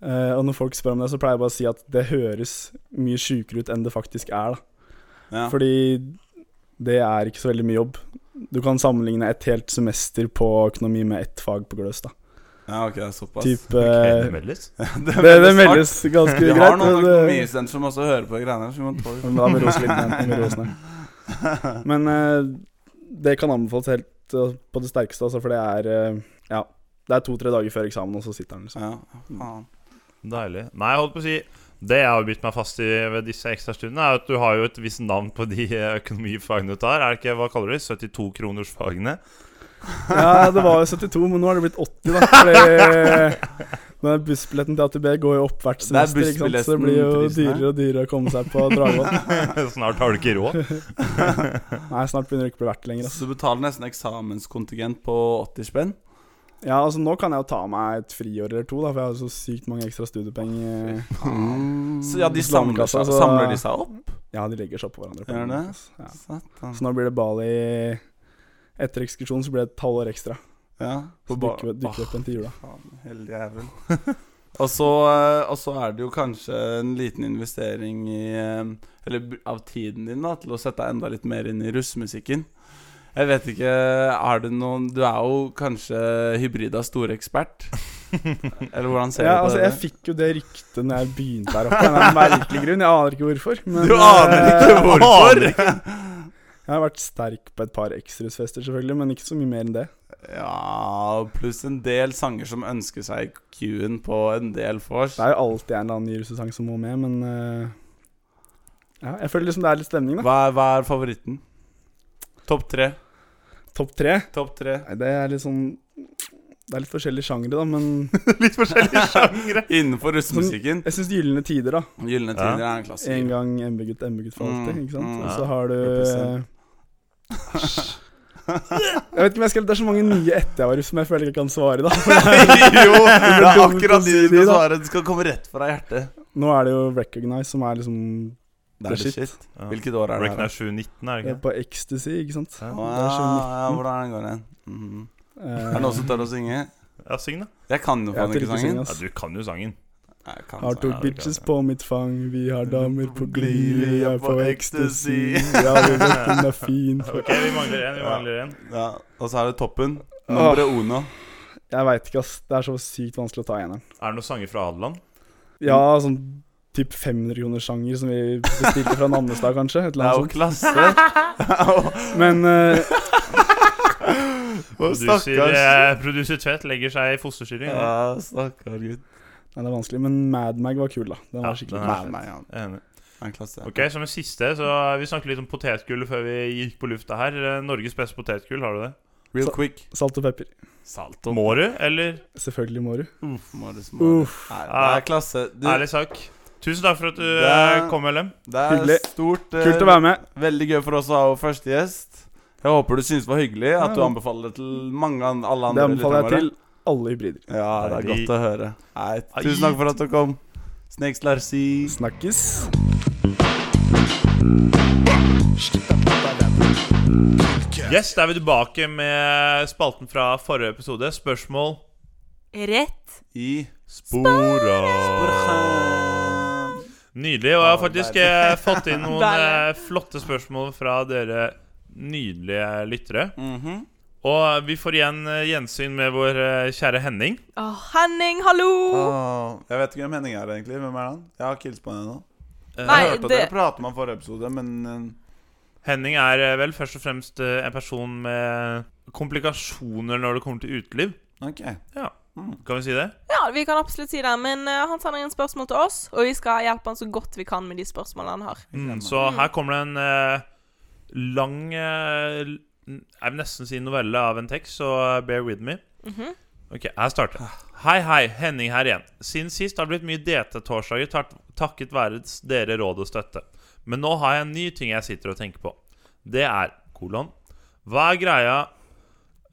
D: Eh, og når folk spør om det, så pleier jeg bare å si at det høres mye sjukere ut enn det faktisk er, da.
B: Ja.
D: Fordi det er ikke så veldig mye jobb. Du kan sammenligne et helt semester på økonomi med ett fag på Gløs. da
B: ja, ok, det er såpass.
D: Typ,
A: Okay, det
D: eh,
A: meldes.
B: Det,
D: det, det meldes ganske
B: Vi
D: greit.
B: har noen
D: men det-
B: økonomistudenter som også hører på de greiene her. Så vi må ta
D: men da må vi rose litt ned. da må vi rose ned. Men eh, det kan anbefales helt eh, på det sterkeste, altså, for det er eh, Ja, det er to-tre dager før eksamen, og så sitter han, liksom.
B: Ja, faen.
A: Deilig. Nei, jeg holdt på å si Det jeg har bitt meg fast i ved disse ekstrastundene, er at du har jo et visst navn på de eh, økonomifagene du tar. Er det ikke, hva kaller du det? 72-kronersfagene?
D: Ja, det var jo 72, men nå har det blitt 80, da. Fordi den bussbilletten til AtB går jo opp hvert
B: Det er
D: semester, ikke sant? så det blir jo
B: bussbilletten-prisen her.
D: dyrere og dyrere å komme seg på Dragvoll.
A: Snart har du ikke råd.
D: Nei, snart begynner det ikke å bli verdt det lenger. altså. ass.
B: Så du betaler nesten eksamenskontingent på 80 spenn.
D: Ja, altså nå kan jeg jo ta meg et friår eller to, da, for jeg har jo så sykt mange ekstra studiepenger.
B: Mm. Så ja, de
D: Slamkassa,
B: samler, seg-
D: så-
B: samler de seg opp?
D: Ja, de legger seg oppå hverandre. på
B: Gjør
D: en
B: det?
D: måte, ass. altså. Ja.
B: Satan.
D: Så nå blir det Bali etter ekskursjon, så blir det et halvår ekstra.
B: Ja.
D: Så
B: På ba-
D: dukker, dukker det opp en til jula.
B: Faen, heldig jævel. Og så, eh, og så er det jo kanskje en liten investering i eh, Eller br- av tiden din da til å sette deg enda litt mer inn i russmusikken. Jeg vet ikke Har du noen Du er jo kanskje hybrida storekspert? Eller hvordan ser
D: Ja,
B: du på
D: altså,
B: det?
D: jeg fikk jo det ryktet når jeg begynte her oppe. Av en merkelig grunn. Jeg aner ikke hvorfor. Men
B: Du aner ikke
D: eh,
B: hvorfor!
D: jeg har vært sterk på et par Exrus-fester, selvfølgelig, men ikke så mye mer enn det.
B: Ja, pluss en del sanger som ønsker seg Q-en på en del vors.
D: Det er jo alltid en eller annen ny russesang som må med, men eh, ja, Jeg føler liksom det er litt stemning, da.
B: Hva, er- hva er favoritten? Topp tre.
D: Topp tre?
B: Topp tre.
D: Nei, det er litt sånn Det er litt forskjellige sjangre, da, men
A: Litt forskjellige sjangre.
B: Innenfor russemusikken.
D: jeg syns Gylne tider, da.
B: Gylne
A: Ja.
B: tider er en
D: Sånn- En
B: klassiker.
D: gang MB-gutt, MB-gutt for alltid.
B: Mm,
D: Ikke sant?
B: mm,
D: Og
A: ja.
D: så har du
B: Represent.
D: Jeg vet ikke om jeg skal Det er så mange nye etter jeg var russ, men jeg føler ikke jeg kan svare, da.
B: jo, det er
D: dumt å
B: akkurat
D: si
B: det du
D: de, da.
B: svarer. Det skal komme rett fra hjertet.
D: Nå er det jo Recognize, som er liksom
B: Det er det shit. Hvilket år er det?
A: Breakdown
B: her?
A: 719, er det
D: det
A: ikke
D: er på ecstasy, ikke sant?
A: Ja.
B: Å,
D: Det er sånn-
B: ja, hvordan den går den? Mhm.
D: Eh,
B: Er det noen som tør å synge?
A: det? Ja, syng, da.
B: Jeg kan jo
D: Jeg
B: faen
D: tør
B: ikke
D: ikke
B: sangen.
D: synge,
A: Ja,
D: ass.
A: du kan jo sangen.
B: Nei, jeg kan
D: Har to
A: Ja, det er
D: bitches
A: klart, ja.
D: på mitt fang, vi har damer på glid, vi er på ecstasy.
B: ecstasy.
D: Ja, vi vet hun er fin.
A: Ok, vi mangler en, vi
B: Ja.
A: mangler en.
B: Ja, og så er det toppen. Nummer uno.
D: Jeg veit ikke, ass. Det er så sykt vanskelig å ta eneren.
A: Er det noen sanger fra Adeland?
D: Ja, sånn typ 500 kroners sjanger som vi bestilte fra Nannestad, kanskje. Et
B: Det
D: eller
B: er jo
D: annet
B: klasse.
D: sånt. Men eh,
A: Produser,
B: Stakkars.
A: eh, produser Tvedt legger seg i fosterstyring. Ja.
B: Ja, stakkar gutt.
D: Nei, det er vanskelig. Men Mad Mag var kul, da. Den
A: Ja,
D: var skikkelig
A: den
D: kul.
A: er-
B: Nei, nei, ja.
A: Enig.
B: Det er en klasse.
A: Ok, Som en siste, så vi snakket litt om potetgull før vi gikk på lufta her. Eh, Norges beste potetgull, har du det?
B: Real
D: Så-
B: quick.
D: Salt og pepper.
B: Salt
A: Må du, eller?
D: Selvfølgelig må du.
B: Uff. Må du små.
D: Uff.
B: Nei, det er klasse. Du,
A: Ærlig sak. Tusen takk for at du
B: Det-
A: eh, kom, LM.
B: det er
D: Hyggelig.
B: stort. eh,
D: Kult å være med.
B: Veldig gøy for oss å ha vår første gjest. Jeg håper du synes det var hyggelig, at du
D: Ja.
B: anbefaler det til mange an alle
D: Det
B: andre.
D: anbefaler jeg
B: lytterne
D: til alle hybrider.
B: våre. Ja, det
A: Nei,
B: er
A: de-
B: godt å høre. Nei,
A: Ai.
B: tusen takk for at du kom. Snakes Larsi.
D: Snakkes.
A: Yes, Da er vi tilbake med spalten fra forrige episode. Spørsmål
C: Rett.
B: I
A: Spora. Nydelig. Og jeg har
B: Ja,
A: faktisk
B: deilig.
A: eh, fått inn noen
C: Deilig.
A: eh, flotte spørsmål fra dere nydelige lyttere.
B: Mhm.
A: Og eh, vi får igjen eh, gjensyn med vår eh, kjære Henning.
C: Å, Ah, Henning, hallo!
B: Ah. Åh, Jeg vet ikke hvem Henning er, egentlig. Hvem er han? Jeg har ikke hilst på han ennå.
A: Eh,
C: Nei,
B: Jeg hørte at
C: det-
B: dere pratet om han forrige episode, men eh,
A: Henning er eh, vel først og fremst eh, en person med komplikasjoner når det kommer til uteliv.
B: OK.
A: Kan vi si det?
C: Ja, vi kan absolutt si det, men eh, han sender inn spørsmål til oss, og vi skal hjelpe han så godt vi kan med de spørsmålene han har.
A: Mm, så her kommer det en eh, lang eh, l- Jeg vil nesten si novelle av en tekst, så eh, bear with me.
C: Mhm.
A: Ok, jeg starter. Hei, hei. Henning her igjen. Siden sist har det blitt mye DT-torsdager tak- takket være s- dere råd og støtte. Men nå har jeg en ny ting jeg sitter og tenker på. Det er kolon. Hva er greia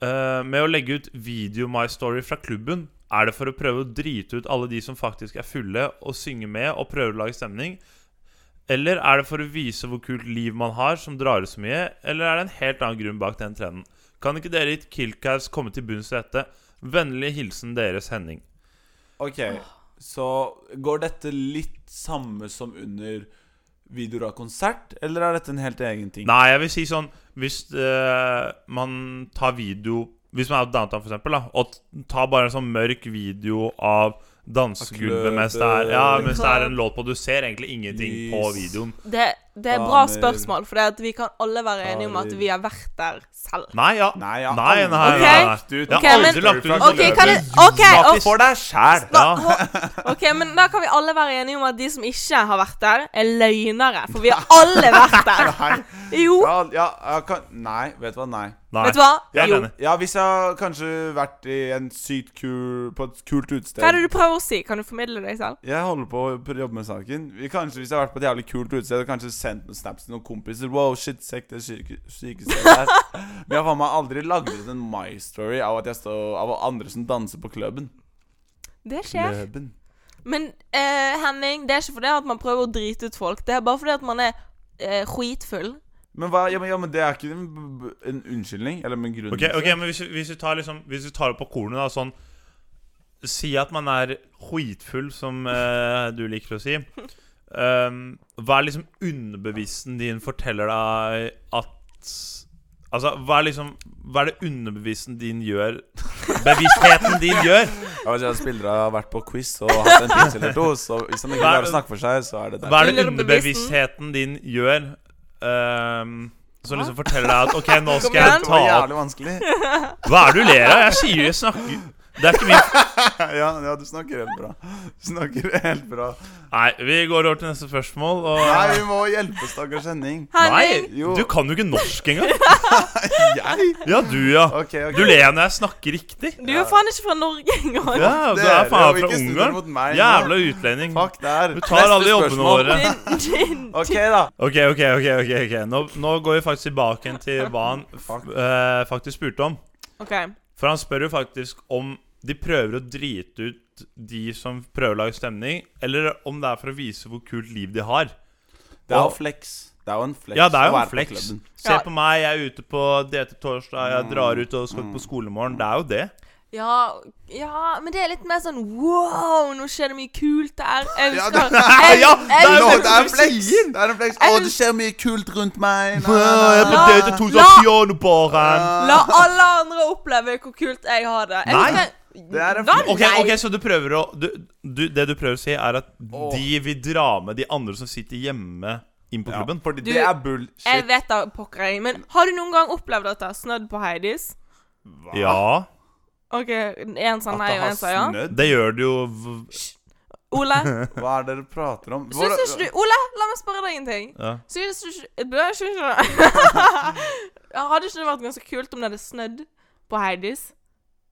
A: eh, med å legge ut video My Story fra klubben? Er det for å prøve å drite ut alle de som faktisk er fulle, og synge med og prøve å lage stemning? Eller er det for å vise hvor kult liv man har som drar ut så mye? Eller er det en helt annen grunn bak den trenden? Kan ikke dere i Killcavs komme til bunns i dette? Vennlig hilsen deres Henning.
B: OK, så går dette litt samme som under videoer av konsert, eller er dette en helt egen ting?
A: Nei, jeg vil si sånn Hvis eh, man tar video Hvis man er på downtown, for eksempel, da, og t- tar bare en sånn mørk video av dansegulvet mens det er Ja, mens det er en låt på Du ser egentlig ingenting på
B: Lys.
A: videoen.
C: Det, det er bra
B: Damer.
C: spørsmål, for det at vi kan alle være enige om at
B: Karer.
C: vi har vært der selv.
A: Nei, ja.
B: Nei, jeg har
A: Nei, nei,
B: aldri
A: nei,
C: nei.
B: lagt ut
A: Jeg har
C: Ok, men-
A: aldri lagt ut
C: Ok,
A: sånn
C: kan
A: video.
C: du- ok,
B: Smak
C: og-
B: det for deg sjæl!
A: Ja.
C: Ok, men Da kan vi alle være enige om at de som ikke har vært der, er løgnere. For vi har alle vært der.
B: Nei.
C: Jo,
B: Ja, ja, jeg kan Nei, vet du hva, nei.
A: Nei.
C: vet du hva?
A: Jeg er
C: Jo.
A: enig.
B: Ja, hvis jeg har kanskje vært i en sykt kul På et kult utested
C: Hva er det du prøver å si? Kan du formidle deg selv?
B: Jeg holder på å pr- jobbe med saken. Vi- Kanskje hvis jeg har vært på et jævlig kult utested og kanskje sendt noen snaps til noen kompiser Wow, shit, sekk, det syke- sykeste der. Men jeg har faen meg aldri lagd ut en My Story av at jeg står Av andre som danser på klubben.
C: Det skjer.
B: Klubben.
C: Men eh, Henning, det er ikke fordi at man prøver å drite ut folk. Det er bare fordi at man er eh, skitfull.
B: Men hva ja, men, ja, men det er ikke en, b- b- en unnskyldning eller en grunn.
A: Ok, ok, men hvis, vi- hvis, vi tar liksom, hvis vi tar opp på kornet da, sånn Si at man er skitfull, som eh, du liker å si. Um, hva er liksom underbevissten din forteller deg at Altså, hva er liksom Hva er det underbevissten din gjør Bevisstheten din gjør?
B: Jeg vet ikke, Spillere har vært på quiz og hatt en pils eller to, så hvis han ikke
A: Hva er-
B: klarer å snakke for seg, så er det
A: Hva
B: der.
A: er det
C: Underbevisstheten?
A: underbevisstheten din gjør um, som liksom forteller deg at OK, nå skal
C: igjen.
A: jeg
B: Det
A: ta
B: var
A: opp
B: jævlig vanskelig.
A: Hva er det du ler av? Jeg sier jo jeg snakker Det er ikke min
B: Ja, ja, du snakker helt bra. Du snakker helt bra.
A: Nei, vi går over til neste spørsmål. Og...
B: Nei, vi må hjelpe stakkars Henning.
C: Henning!
A: Nei,
B: Jo.
A: du kan jo ikke norsk engang.
B: Jeg?
A: Ja, du, ja.
B: Ok, ok.
A: Du ler når jeg snakker riktig.
C: Du er faen ikke fra Norge engang.
A: Ja, altså. du
B: Dere,
A: er faen
B: hvilke
A: fra
B: studier
A: Ungarn.
B: mot meg nå?
A: Jævla utlending.
B: Fuck der.
A: Du tar alle jobbene våre.
C: Din, din,
B: Ok, da.
A: Ok, ok, ok. ok, ok Nå, nå går vi faktisk tilbake igjen til hva han f
B: Fuck.
A: eh, faktisk spurte om.
C: OK.
A: For han spør jo faktisk om de prøver å drite ut de som prøver å lage stemning, eller om det er for å vise hvor kult liv de har.
B: Det er jo
A: Og-
B: flex. Det er jo en flex.
A: Ja, det er
B: å
A: jo
B: være
A: en
B: på
A: flex.
B: klubben. Mm.
A: Se
C: Ja.
A: på meg, jeg er ute på DT torsdag, jeg drar ut og skal på skolemorgen. Det er jo det.
C: Ja, ja, men det er litt mer sånn wow, nå skjer det mye kult der. Jeg
B: Ja,
C: husker
A: det-
C: jeg-
A: ja,
C: jeg-
A: det er
B: Nå,
A: jo
B: det er en flex! Det er en flex. Å,
C: Jeg-
B: det skjer mye kult rundt meg. Nei,
A: Jeg er
B: nei,
A: på
C: La-
A: DT torsdag,
C: la-
A: pianobaren.
C: La alle andre oppleve hvor kult jeg har det. Jeg
A: Nei.
C: husker-
B: Det er en
C: Da-
A: Ok,
C: nei.
A: ok, Så du prøver å du, du, Det du prøver å si, er at
B: Åh.
A: de vil dra med de andre som sitter hjemme, inn på
B: nei. Ja,
A: klubben?
B: fordi
C: Du-
B: det er bullshit.
C: Jeg vet da pokker jeg, men har du noen gang opplevd at det har snødd på Heidis?
A: Ja,
C: OK, en sa
B: At
C: nei
B: det
C: og
B: har
C: en sa ja.
B: snødd?
A: det gjør det jo v-
C: Ole,
B: Hva er det dere prater om?
C: syns ikke du Ole, la meg spørre deg en ting.
A: ja.
C: Syns du ikke Bø, syns ikke Hadde ikke det vært ganske kult om det hadde snødd på Heidis?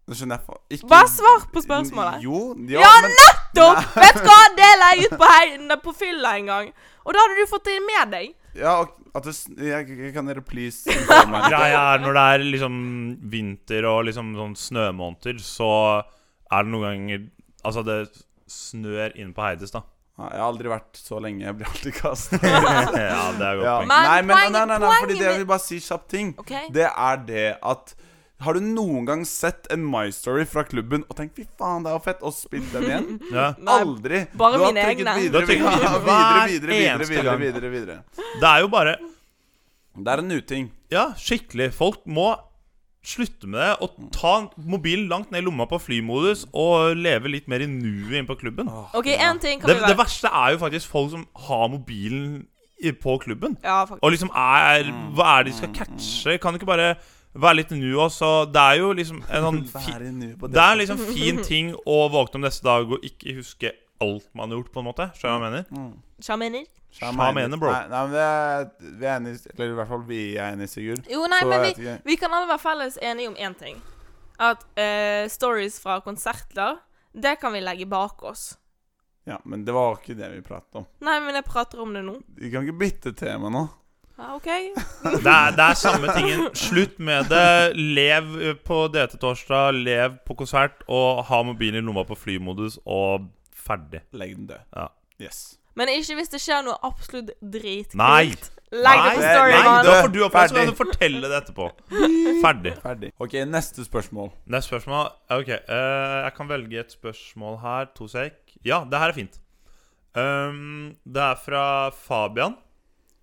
B: Nå skjønner jeg faen ikke
C: Bare svar på spørsmålet.
B: Mm, Jo, ja,
C: Ja,
B: men
C: nettopp! Vet du hva, det la jeg ut på, hei- på fylla en gang. Og da hadde du fått det med deg.
B: ja, ok, at du, sn- jeg, jeg, Kan dere please informere meg?
A: Greia er når det er liksom vinter og liksom sånn snømåneder, så er det noen ganger Altså, det snør inn på Heides, da.
B: Ja, Jeg har aldri vært så lenge. Jeg blir alltid kastet.
A: ja, det er godt
B: Ja.
A: poeng.
C: Men
B: Nei, men
C: poenget-
B: nei, nei, nei, fordi
C: poenget
B: det jeg
C: mitt-
B: vil bare si kjapp ting.
C: OK?
B: Det er det at Har du noen gang sett en My Story fra klubben og tenkt 'fy faen, det er jo fett', og spilt den igjen?
A: Ja.
C: Nei,
B: Aldri.
C: bare
B: du har
C: mine
B: trykket
C: egne.
A: Du
B: videre,
A: har trykket videre
B: videre, videre,
A: hver
B: videre, videre,
A: eneste
B: videre,
A: gang.
B: videre, videre.
A: Det er jo bare
B: Det er en uting.
A: Ja, skikkelig. Folk må slutte med det og ta mobilen langt ned i lomma på flymodus og leve litt mer i nuet inne på klubben.
C: OK, én ting kan
A: Det,
C: vi
A: det
C: være
A: verste er jo faktisk folk som har mobilen i, på klubben.
C: Ja, faktisk.
A: Og liksom er Hva er det de skal catche? Kan det ikke bare være litt nu også? Det er jo liksom en sånn fi,
B: Være nu på
A: Det er liksom fin ting å våkne om neste dag og ikke huske alt man har gjort, på en måte. Skjønner du hva jeg mener?
B: Mm.
C: Sjamener?
A: Hva mener bro?
B: Nei, nei, men vi er, vi er enige, eller i hvert fall vi er enige, Sigurd.
C: Jo, nei,
B: Så
C: men
B: jeg
C: vi,
B: vet ikke.
C: vi kan alle være felles enige om én ting. At eh, stories fra konserter, det kan vi legge bak oss.
B: Ja, men det var ikke det vi pratet om.
C: Nei, men jeg prater om det nå.
B: Vi kan ikke bytte tema nå.
C: Ja, OK?
A: Det er, det er samme tingen. Slutt med det. Lev eh, på DT-torsdag, lev på konsert, og ha mobilen i lomma på flymodus, og ferdig.
B: Legg den død.
A: Ja.
B: Yes.
C: Men ikke hvis det skjer noe absolutt dritkult.
A: Nei.
C: Legg det på
B: Nei,
C: story,
B: nei,
C: mann.
B: det-
A: Da får du opp, så
B: Ferdig.
A: kan du fortelle det etterpå. Ferdig.
B: Ferdig. OK, neste spørsmål.
A: Neste spørsmål. Ok, eh, jeg kan velge et spørsmål her. To sek. Ja, det her er fint. Um, det er fra Fabian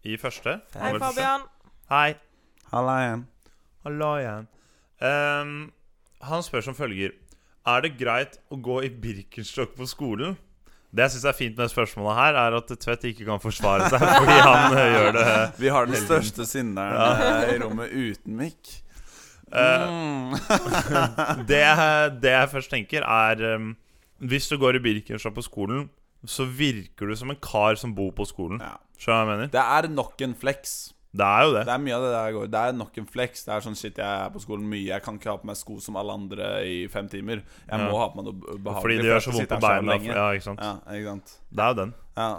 A: i første.
C: Hei, Fabian.
A: Hei.
B: Halla igjen.
A: Hallo igjen. Ehm, han spør som følger Er det greit å gå i Birkenstock på skolen? Det jeg syns er fint med det spørsmålet her, er at Tvedt ikke kan forsvare seg fordi han eh, gjør det.
B: Vi har den største synderen eh, i rommet uten mikk.
A: Eh,
B: Mm.
A: det, jeg- det jeg først tenker, er ehm, Hvis du går i Birkenstock på skolen, så virker du som en kar som bor på skolen.
B: Ja.
A: Skjønner du hva jeg mener?
B: Det er nok en flex.
A: Det er jo det.
B: Det er mye av det der går. Det er nok en flex. Det er sånn shit, jeg er på skolen mye. Jeg kan ikke ha på meg sko som alle andre i fem timer. Jeg må
A: Ja.
B: ha på meg noe behagelig.
A: Fordi det
B: for
A: gjør
B: jeg
A: så
B: skal
A: vondt
B: sitte
A: på
B: her så
A: beina.
B: lenge.
A: Ja, ikke sant?
B: Ja, ikke sant.
A: Det er jo den.
B: Ja.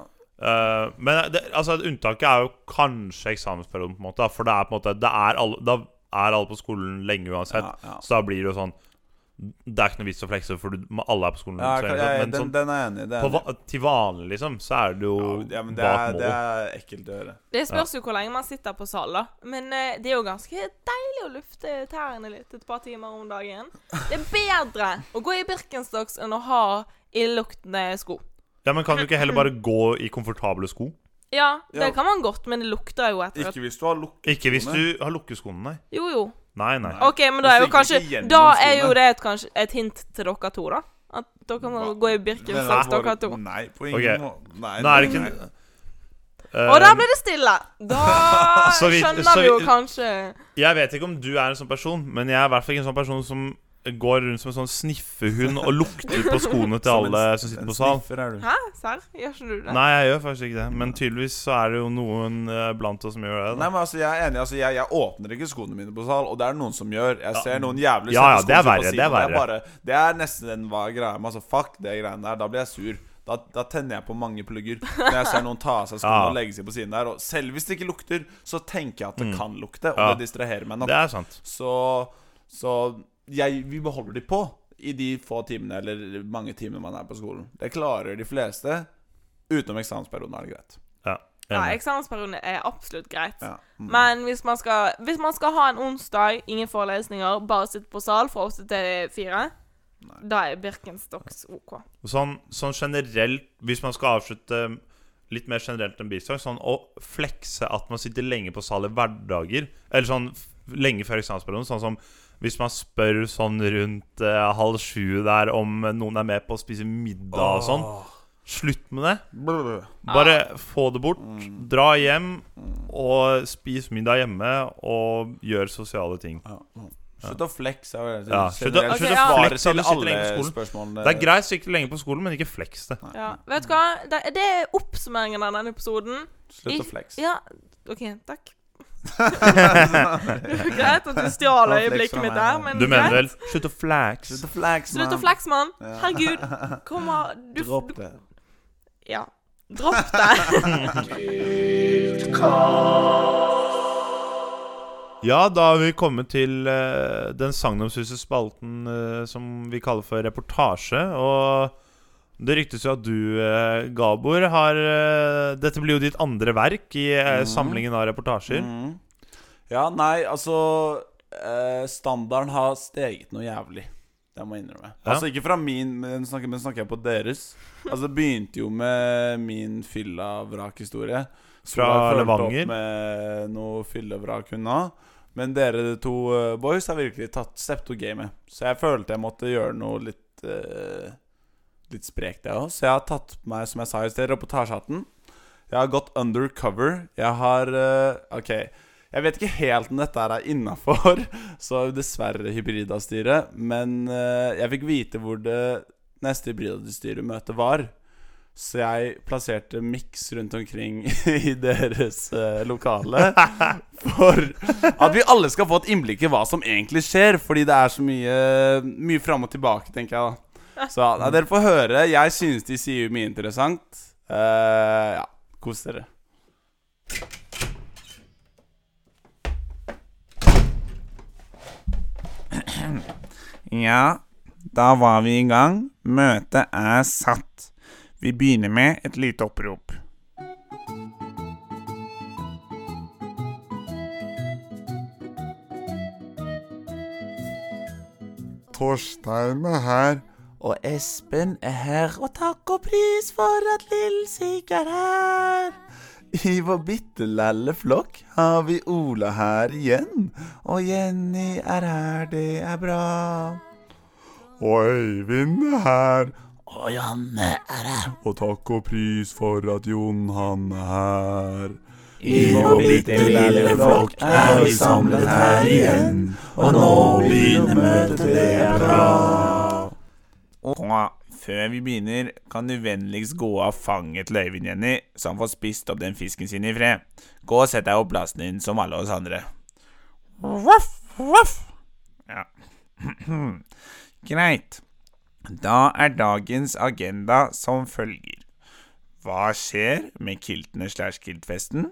A: Eh, men det, altså, unntaket er jo kanskje eksamensperioden, på en måte. da, For det er på en måte det er alle, Da er alle på skolen lenge uansett.
B: Ja, ja.
A: Så da blir det jo sånn Det er ikke noe vits å flekse, for du, alle er på skolen.
B: Ja,
A: så er
B: jeg,
A: det sånn,
B: jeg,
A: men
B: den,
A: sånn,
B: den er jeg enig i. Det er
A: på,
B: enig.
A: va- til vanlig, liksom, så er det jo
B: i. Ja, men det
A: bak
B: er,
A: målet.
B: det er ekkelt å gjøre.
C: Det spørs jo hvor lenge man sitter på sal, da. Men eh, det er jo ganske deilig å lufte tærne litt et par timer om dagen. Det er bedre å gå i Birkenstocks enn å ha illeluktende sko.
A: Ja, men kan du ikke heller bare gå i komfortable sko?
C: Ja,
B: Ja.
C: det kan man godt, men det lukter jo etter at
B: Ikke hvis du har lukket
A: Ikke hvis du har lukkeskoene, nei.
C: Jo, jo.
A: Nei, nei.
C: OK, men da
B: Det
C: er jo
B: stikker
C: kanskje
B: ikke gjennom
C: Da er jo
B: skoene.
C: det et, kanskje et hint til dere to, da. At dere må
B: Hva?
C: gå i Birkenstocks, dere to.
B: Nei, på
A: Ok.
B: ingen måte. Nei,
A: Nå er det
B: nei.
A: ikke
C: Og der
A: Eh,
C: ble det stille! Da
A: Så vi-
C: skjønner
A: så
C: vi jo
A: vi-
C: kanskje
A: Jeg vet ikke om du er en sånn person, men jeg er i hvert fall ikke en sånn person som går rundt som en sånn sniffehund og lukter på skoene til
B: Som en-
A: alle som sitter
B: en
A: på sal.
B: sniffer er du.
C: Hæ, serr? Gjør ikke du det?
A: Nei, jeg gjør faktisk ikke det, men tydeligvis så er det jo noen eh, blant oss som gjør det.
B: Nei,
A: Da.
B: men altså, Jeg er enig, altså, jeg, jeg åpner ikke skoene mine på sal, og det er det noen som gjør. Jeg ser noen jævlig
A: Ja, ja,
B: sette
A: det er
B: skoene
A: verre,
B: på
A: det er
B: siden, og
A: verre.
B: bare- Det er nesten en hva er greia med. Altså, fuck det greiene der. Da blir jeg sur. Da, da tenner jeg på mange plugger. Når jeg ser noen ta av seg skoene
A: Ja.
B: og legge seg på siden der. Og selv hvis det ikke lukter, så tenker jeg at det kan lukte, og
A: Mm. Ja.
B: det distraherer meg nok.
A: Det er sant.
B: Så, så jeg, vi beholder de på i de få timene eller mange timene man er på skolen. Det klarer de fleste. Utenom eksamensperioden er det greit.
A: Ja,
C: Ja,
A: enig.
C: eksamensperioden er absolutt greit.
B: Ja. Mm.
C: Men hvis man, skal, hvis man skal ha en onsdag, ingen forelesninger, bare sitte på sal fra åtte til fire, da er Birkenstocks OK.
A: Sånn, sånn generelt, hvis man skal avslutte eh, litt mer generelt enn bisak, sånn å flekse at man sitter lenge på sal i hverdager, eller sånn f- lenge før eksamensperioden, sånn som hvis man spør sånn rundt eh, halv sju der om noen er med på å spise middag og sånn, slutt med det.
B: Brr.
A: Bare få det bort. Dra hjem og spis middag hjemme og gjør sosiale ting.
B: Ja. Slutt å flex. er det
A: Ja,
B: jeg
A: slutt å-
C: slutt
B: sier. Generelt
C: å
B: svar
A: flex at
B: til
A: du sitter lenge på
B: alle
A: skolen.
B: spørsmålene.
A: Det er greit å sitte lenge på skolen, men ikke fleks det.
B: Nei.
C: Ja. Vet du hva? Det, det er oppsummeringen av denne episoden.
B: Slutt å flex.
C: Ja, OK, takk. det var greit at du stjal øyeblikket mitt der, men
A: Du mener
C: greit.
A: vel slutt å flex?
B: Slutt å flex,
C: Slutt å
B: man.
C: flekse, mann. Herregud. Kom her. Du,
B: Dropp
C: du
B: det.
C: Ja. Dropp det.
A: Ja, da har vi kommet til eh, den sagnomsuste spalten eh, som vi kaller for reportasje. Og det ryktes jo at du, eh, Gabor, har eh, Dette blir jo ditt andre verk i eh, samlingen av reportasjer.
B: Mhm. Ja, nei, altså eh, Standarden har steget noe jævlig. Det må jeg innrømme.
A: Ja.
B: Altså Ikke fra min, men snakker, men snakker jeg på deres. Altså Det begynte jo med min fylla-vrakhistorie. Så
A: Fra
B: jeg fulgte opp
A: Levanger.
B: Med noe fyllevrak hun har. Men dere to eh, boys har virkelig tatt step to gamet. Så jeg følte jeg måtte gjøre noe litt eh, Litt sprekt, jeg òg. Så jeg har tatt på meg, som jeg sa i sted, reportasjehatten. Jeg har gått undercover. Jeg har eh, OK. Jeg vet ikke helt om dette her er innafor, så dessverre hybrid av styret. Men eh, jeg fikk vite hvor det neste hybrid av styret-møtet var. Så jeg plasserte miks rundt omkring i deres eh, lokale. For at vi alle skal få et innblikk i hva som egentlig skjer. Fordi det er så mye, mye fram og tilbake, tenker jeg da. Så nei, dere får høre. Jeg synes de sier mye interessant. Eh, ja, kos dere. Ja, da var vi i gang. Møtet er satt. Vi begynner med et lite opprop. Torstein er her. Og Espen er her. Og takk og pris for at Lill Sig er her. I vår bitte lille flokk har vi Ola her igjen. Og Jenny er her, det er bra. Og Øyvind er her. Og Janne er her. Og takk og pris for at Jon han er her. I vår bitte lille flokk er vi samlet her igjen. Og nå begynner møtet, det er bra. Og før vi begynner, kan du vennligst gå av fanget til Øyvind, Jenny, så han får spist opp den fisken sin i fred. Gå og sett deg opp plassen din, som alle oss andre. Voff, voff. Ja.
E: Hmm.
B: Greit. Da er dagens agenda som følger. Hva skjer med kiltene slash kiltfesten?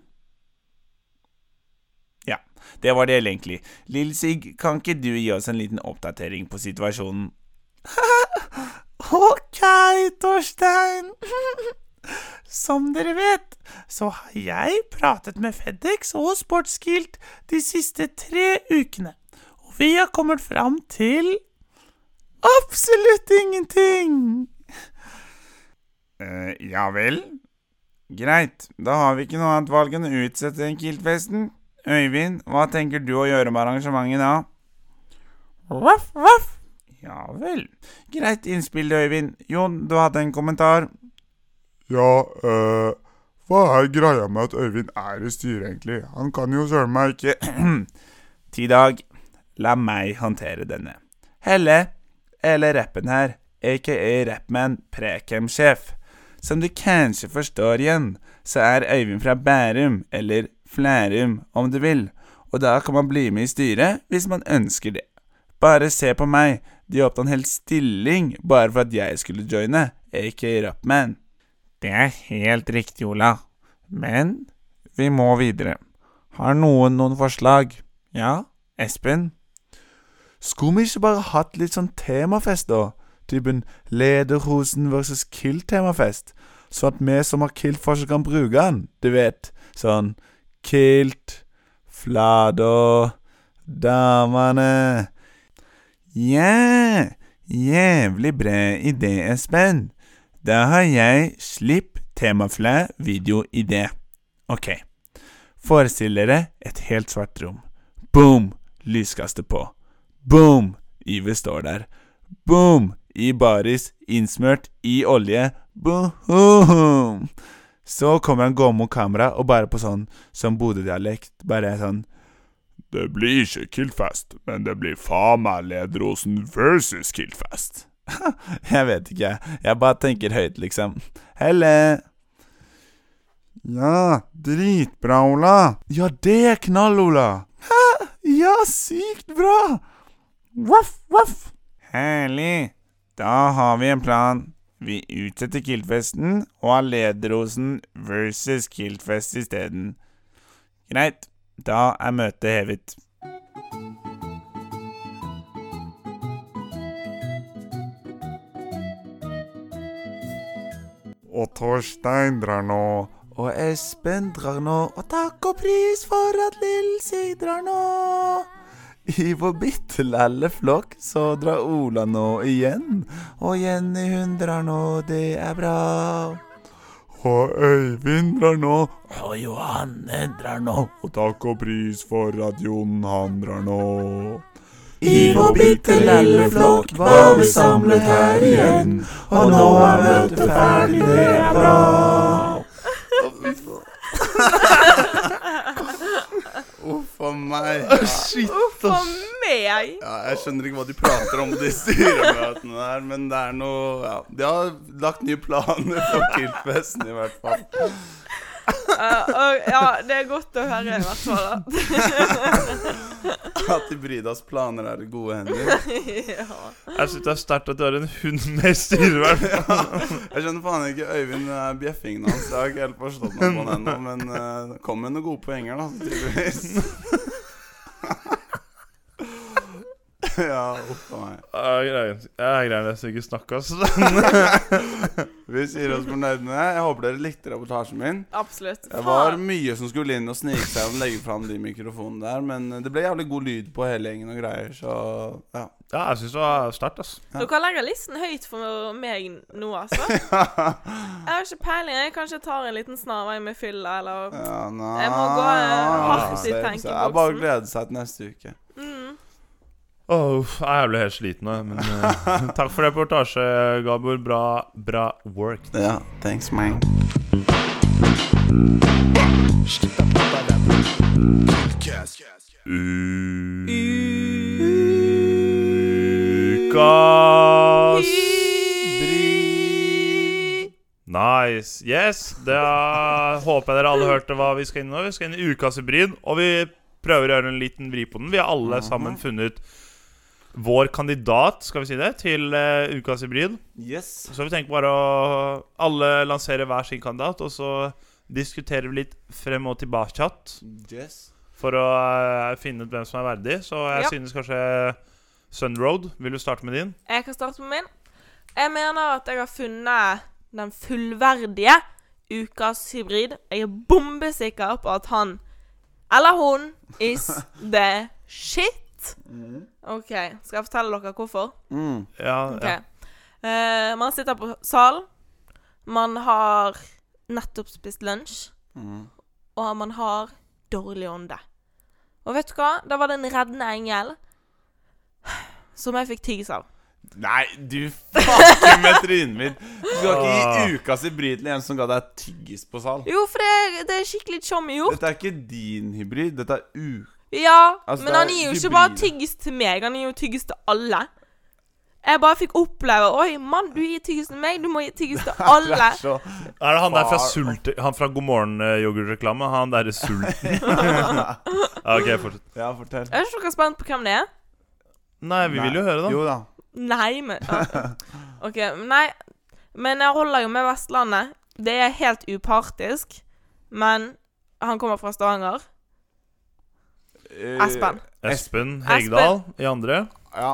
E: Ja, det var det hele egentlig. Lill Sig, kan ikke du gi oss en liten oppdatering på situasjonen? ok, Torstein. Som dere vet, så har jeg pratet med Fedex og Sportsgilt de siste tre ukene, og vi har kommet fram til absolutt ingenting. eh, ja vel? Greit, da har vi ikke noe annet valg enn å utsette Kiltfesten. Øyvind, hva tenker du å gjøre med arrangementet da? Voff, voff. Ja vel. Greit innspill, Øyvind. Jon, du hadde en kommentar.
F: Ja, eh, hva er greia med at Øyvind er i styret, egentlig? Han kan jo søren meg ikke
E: Ti dag. La meg håndtere denne. Helle, eller rappen her, aka Rappman Prekem-sjef. Som du kanskje forstår igjen, så er Øyvind fra Bærum, eller Flærum om du vil, og da kan man bli med i styret hvis man ønsker det. Bare se på meg, de åpna en hel stilling bare for at jeg skulle joine, aka Rappman. Det er helt riktig, Ola, men vi må videre. Har noen noen forslag? Ja, Espen? Skulle vi ikke bare hatt litt sånn temafest, da? Typen Lederhosen versus Kilt-temafest. Så at vi som har kilt, fortsatt kan bruke den. Du vet, sånn Kilt, flada, damene Yeah! Jævlig bred idé, Espen. Da har jeg slipp temaflæ videoidé. Ok. Forestill dere et helt svart rom. Boom! Lyskaster på. Boom! Yves står der. Boom! I baris, innsmørt i olje. Boom! Så kommer han gående mot kamera og bare på sånn som Bodø-dialekt. Bare sånn
F: Det blir ikke Kiltfest, men det blir faen meg Lederosen versus Kiltfest.
E: Jeg vet ikke, jeg. Jeg bare tenker høyt, liksom. Helle!
F: Ja, dritbra, Ola.
E: Ja, det er knall, Ola! Hæ? Ja, sykt bra! Voff, voff! Herlig. Da har vi en plan. Vi utsetter Kiltfesten og har Lederosen versus Kiltfest isteden. Greit. Da er møtet hevet.
F: Og Torstein drar nå.
E: Og Espen drar nå, og takk og pris for at Lill Sig drar nå. I vår bitte lille flokk så drar Ola nå igjen. Og Jenny hun drar nå, det er bra.
F: Og Øyvind drar nå.
E: Og Johanne drar nå.
F: Og takk og pris for at Jon han drar nå.
E: I vår bitte lille flokk var vi samlet her igjen. Og nå er møtet ferdig, det er bra.
B: Uff a meg.
G: Shit,
C: For
G: ass.
C: meg!
B: Ja, jeg skjønner ikke hva de prater om på de styremøtene der, men det er noe ja, De har lagt nye planer for Kiltfesten, i hvert fall.
C: Eh, og, ja, det er godt å høre, i hvert fall. da.
B: At de Bridas planer er i gode hender.
C: ja.
A: Jeg syns det er sterkt at du har en hund med i styret. i hvert fall.
B: Jeg skjønner faen ikke Øyvind eh, bjeffingen hans. Jeg har ikke helt forstått noe på den ennå, men eh, det kom med noen gode poenger, da, tydeligvis. Ja, uff a meg.
A: Ja, greier- Jeg greier nesten ikke å snakke, altså.
B: Vi sier oss fornøyd med det. Jeg håper dere likte reportasjen min.
C: Absolutt.
B: Det var
C: Faen.
B: mye som skulle inn og snike seg og legge fram de mikrofonene der, men det ble jævlig god lyd på hele gjengen og greier, så ja.
A: Ja, jeg syns det var sterkt, altså.
C: Dere legger listen høyt for meg nå, altså. Jeg har ikke peiling. Jeg kanskje tar en liten snarvei med fylla, eller
B: ja nei,
C: Jeg må gå, eh, hardt i
B: Så- så Det
C: tenkeboksen.
B: er bare å glede seg til neste uke.
C: mm.
A: Åh, uff, jeg ble helt sliten nå, men eh, takk for reportasje, Gabor. Bra, bra work.
B: Ja, thanks, man.
A: Ukas Nice. Yes, da håper jeg dere alle hørte hva vi skal inn i nå. Vi skal inn i ukas hybrid, og vi prøver å gjøre en liten vri på den. Vi har alle sammen funnet vår kandidat, skal vi si det, til eh, ukas hybrid.
B: Yes.
A: Så vi tenker bare å Alle lanserer hver sin kandidat, og så diskuterer vi litt frem og tilbake.
B: Yes.
A: for å eh, finne ut hvem som er verdig. Så jeg
C: Ja.
A: synes kanskje Sunroad. Vil du starte med din?
C: Jeg kan starte med min. Jeg mener at jeg har funnet den fullverdige ukas hybrid. Jeg er bombesikker på at han eller hun is the shit. OK, skal jeg fortelle dere hvorfor?
B: Mm.
A: Ja,
C: Ok. Eh, man sitter på sal. Man har nettopp spist lunsj.
B: Mm.
C: Og man har dårlig ånde. Og vet du hva? Da var det en reddende engel som jeg fikk tygges av.
B: Nei, du fucker med trynet mitt! Du skal ikke gi ukas hybrid til en som ga deg tyggis på sal.
C: Jo, for det, det er skikkelig tjommi gjort.
B: Dette er ikke din hybrid, dette er u...
C: Ja,
B: Altså,
C: men
B: det er
C: han gir jo ikke bare
B: hybride.
C: tyggis til meg, han gir jo tyggis til alle. Jeg bare fikk oppleve Oi, mann, du gir tyggis til meg, du må gi tyggis til
B: Det
C: alle.
B: er så
A: Er det han der fra
B: Far.
A: Sult Han fra God morgen-yoghurtreklame? Han derre sulten? Ja, OK, fortsett.
B: Ja, fortell.
C: Er ikke dere spent på hvem det er?
A: Nei, vi vil jo høre, da.
B: Jo da.
C: Nei, men ja. OK, men nei. Men jeg holder jo med Vestlandet. Det er helt upartisk. Men han kommer fra Stavanger.
B: Eh,
C: Espen.
A: Espen Hegdal i andre.
B: Ja.